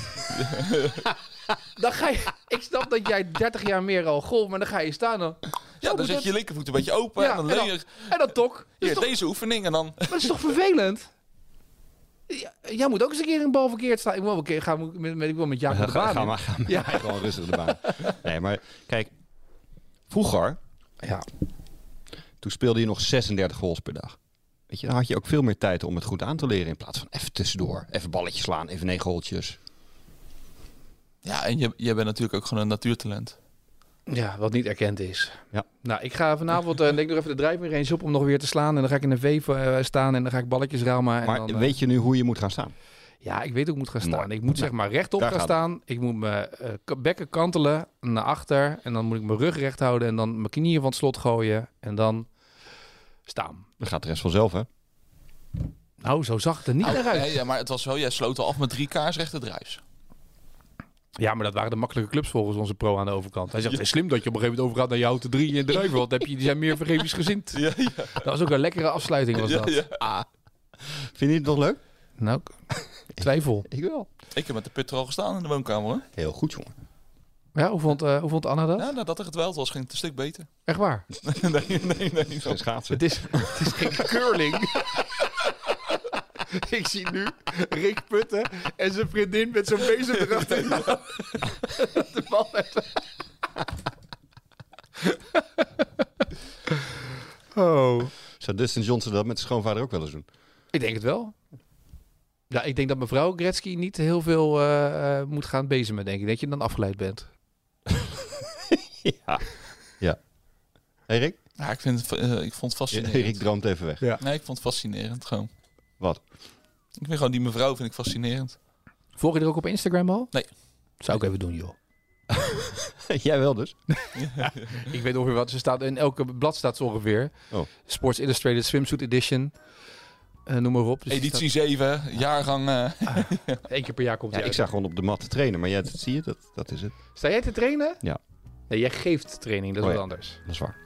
[SPEAKER 2] dan ga je, ik snap dat jij 30 jaar meer al golf, maar dan ga je staan dan.
[SPEAKER 1] Ja,
[SPEAKER 2] Zo
[SPEAKER 1] dan
[SPEAKER 2] moet
[SPEAKER 1] zet
[SPEAKER 2] het.
[SPEAKER 1] je je linkervoet een beetje open
[SPEAKER 2] Ja,
[SPEAKER 1] en dan
[SPEAKER 2] en
[SPEAKER 1] leer
[SPEAKER 2] dan-
[SPEAKER 1] je
[SPEAKER 2] En dan tok. Dat
[SPEAKER 1] hier,
[SPEAKER 2] is toch,
[SPEAKER 1] deze oefening en dan...
[SPEAKER 2] maar dat is toch vervelend? Ja, jij moet ook eens een keer een bal verkeerd staan. Ik wil wel een keer gaan met, met, met, ik wil met Jacob de
[SPEAKER 3] Ga,
[SPEAKER 2] baan
[SPEAKER 3] ga
[SPEAKER 2] in.
[SPEAKER 3] maar, ga maar.
[SPEAKER 2] Ja.
[SPEAKER 3] Gewoon rustig de baan. Nee, maar kijk, vroeger,
[SPEAKER 2] Ja.
[SPEAKER 3] toen speelde je nog 36 goals per dag. Weet je, dan had je ook veel meer tijd om het goed aan te leren in plaats van even tussendoor. Even balletjes slaan, even negen goaltjes.
[SPEAKER 1] Ja, en je, je bent natuurlijk ook gewoon een natuurtalent.
[SPEAKER 2] Ja, wat niet erkend is.
[SPEAKER 3] Ja.
[SPEAKER 2] Nou, ik ga vanavond eh, denk ik nog even de drijfveer eens op om nog weer te slaan. En dan ga ik in een V eh, staan en dan ga ik balletjes ramen. En
[SPEAKER 3] Maar
[SPEAKER 2] dan, eh,
[SPEAKER 3] weet je nu hoe je moet gaan staan?
[SPEAKER 2] Ja, ik weet hoe ik moet gaan staan.
[SPEAKER 3] Mooi.
[SPEAKER 2] Ik moet zeg maar rechtop
[SPEAKER 3] Daar
[SPEAKER 2] gaan
[SPEAKER 3] gaat het.
[SPEAKER 2] staan. Ik moet mijn eh, k- bekken kantelen naar achter. En dan moet ik mijn rug recht houden en dan mijn knieën van het slot gooien. En dan staan.
[SPEAKER 3] Dan gaat de rest vanzelf, hè?
[SPEAKER 2] Nou, zo zag het er niet
[SPEAKER 1] Nou,
[SPEAKER 2] naar uit.
[SPEAKER 1] nee, ja, maar het was wel, jij sloot al af met drie kaars rechte druis.
[SPEAKER 2] Ja, maar dat waren de makkelijke clubs volgens onze pro aan de overkant. Hij zegt, het is slim dat je op een gegeven moment overgaat naar jou te drie en drijven. Want dan heb je, die zijn meer vergevingsgezind.
[SPEAKER 1] Ja, ja.
[SPEAKER 2] Dat was ook een lekkere afsluiting was dat.
[SPEAKER 3] Vind je het nog leuk?
[SPEAKER 2] Nou, twijfel.
[SPEAKER 3] Ik wel.
[SPEAKER 1] Ik heb met de put er al gestaan in de woonkamer. Hoor.
[SPEAKER 3] Heel goed, jongen.
[SPEAKER 2] Ja, hoe vond, eh, hoe vond Anna dat?
[SPEAKER 1] Ja, nadat er getwijfeld was, ging het een stuk beter.
[SPEAKER 2] Echt waar.
[SPEAKER 1] nee, nee, nee.
[SPEAKER 3] Geen schaatsen.
[SPEAKER 2] Het is, het is geen curling. Ik zie nu Rick Putten en zijn vriendin met zo'n bezem erachter. De bal met... Oh.
[SPEAKER 3] Zou Dustin Johnson dat met zijn schoonvader ook wel eens doen?
[SPEAKER 2] Ik denk het wel. Ja, ik denk dat mevrouw Gretzky niet heel veel eh, eh, moet gaan bezemen, denk ik. Dat je dan afgeleid bent.
[SPEAKER 3] Ja. Ja. Hey Rick?
[SPEAKER 1] Ja, ik, vind, het, eh, ik vond het
[SPEAKER 3] Rick
[SPEAKER 1] fascinerend.
[SPEAKER 3] droomt even weg.
[SPEAKER 1] Nee, ik vond het fascinerend gewoon.
[SPEAKER 3] Wat?
[SPEAKER 1] Ik vind gewoon die mevrouw vind ik fascinerend.
[SPEAKER 2] Volg je er ook op Instagram al?
[SPEAKER 1] Nee.
[SPEAKER 2] Zou ik even doen, joh.
[SPEAKER 3] Jij wel dus?
[SPEAKER 2] Ik weet ongeveer wat ze staat. In elke blad staat ze ongeveer.
[SPEAKER 3] Oh.
[SPEAKER 2] Sports Illustrated Swimsuit Edition. Eh, noem maar op. Dus die
[SPEAKER 1] Editie 7, jaargang. eh,
[SPEAKER 2] staat- één keer per jaar komt
[SPEAKER 3] Ja,
[SPEAKER 2] hij
[SPEAKER 3] ik
[SPEAKER 2] uit.
[SPEAKER 3] zag gewoon op de mat te trainen, maar jij dat zie je, dat, dat is het.
[SPEAKER 2] Sta jij te trainen?
[SPEAKER 3] Ja.
[SPEAKER 2] Nee, jij geeft training. Dat is
[SPEAKER 3] Oh,
[SPEAKER 2] wat
[SPEAKER 3] ja.
[SPEAKER 2] anders.
[SPEAKER 3] Dat is waar.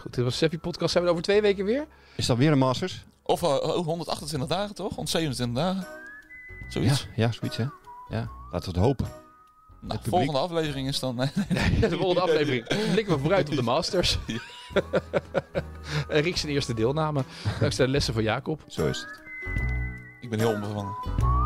[SPEAKER 2] Goed, dit was Seppi Podcast. Zijn we er over twee weken weer?
[SPEAKER 3] Is dat weer een Masters?
[SPEAKER 1] of eh, oh, 128 dagen toch? 127 dagen.
[SPEAKER 3] Ja,
[SPEAKER 1] Zoiets.
[SPEAKER 3] ja, zoiets hè? Ja, laten we het hopen.
[SPEAKER 1] nou,
[SPEAKER 3] publiek-
[SPEAKER 1] volgende aflevering is dan. eh,
[SPEAKER 2] De volgende aflevering. Blikken we vooruit op de Masters. En Rick zijn eerste deelname. Dankzij de lessen van Jacob.
[SPEAKER 3] Zo is het.
[SPEAKER 1] ik ben heel onbevangen.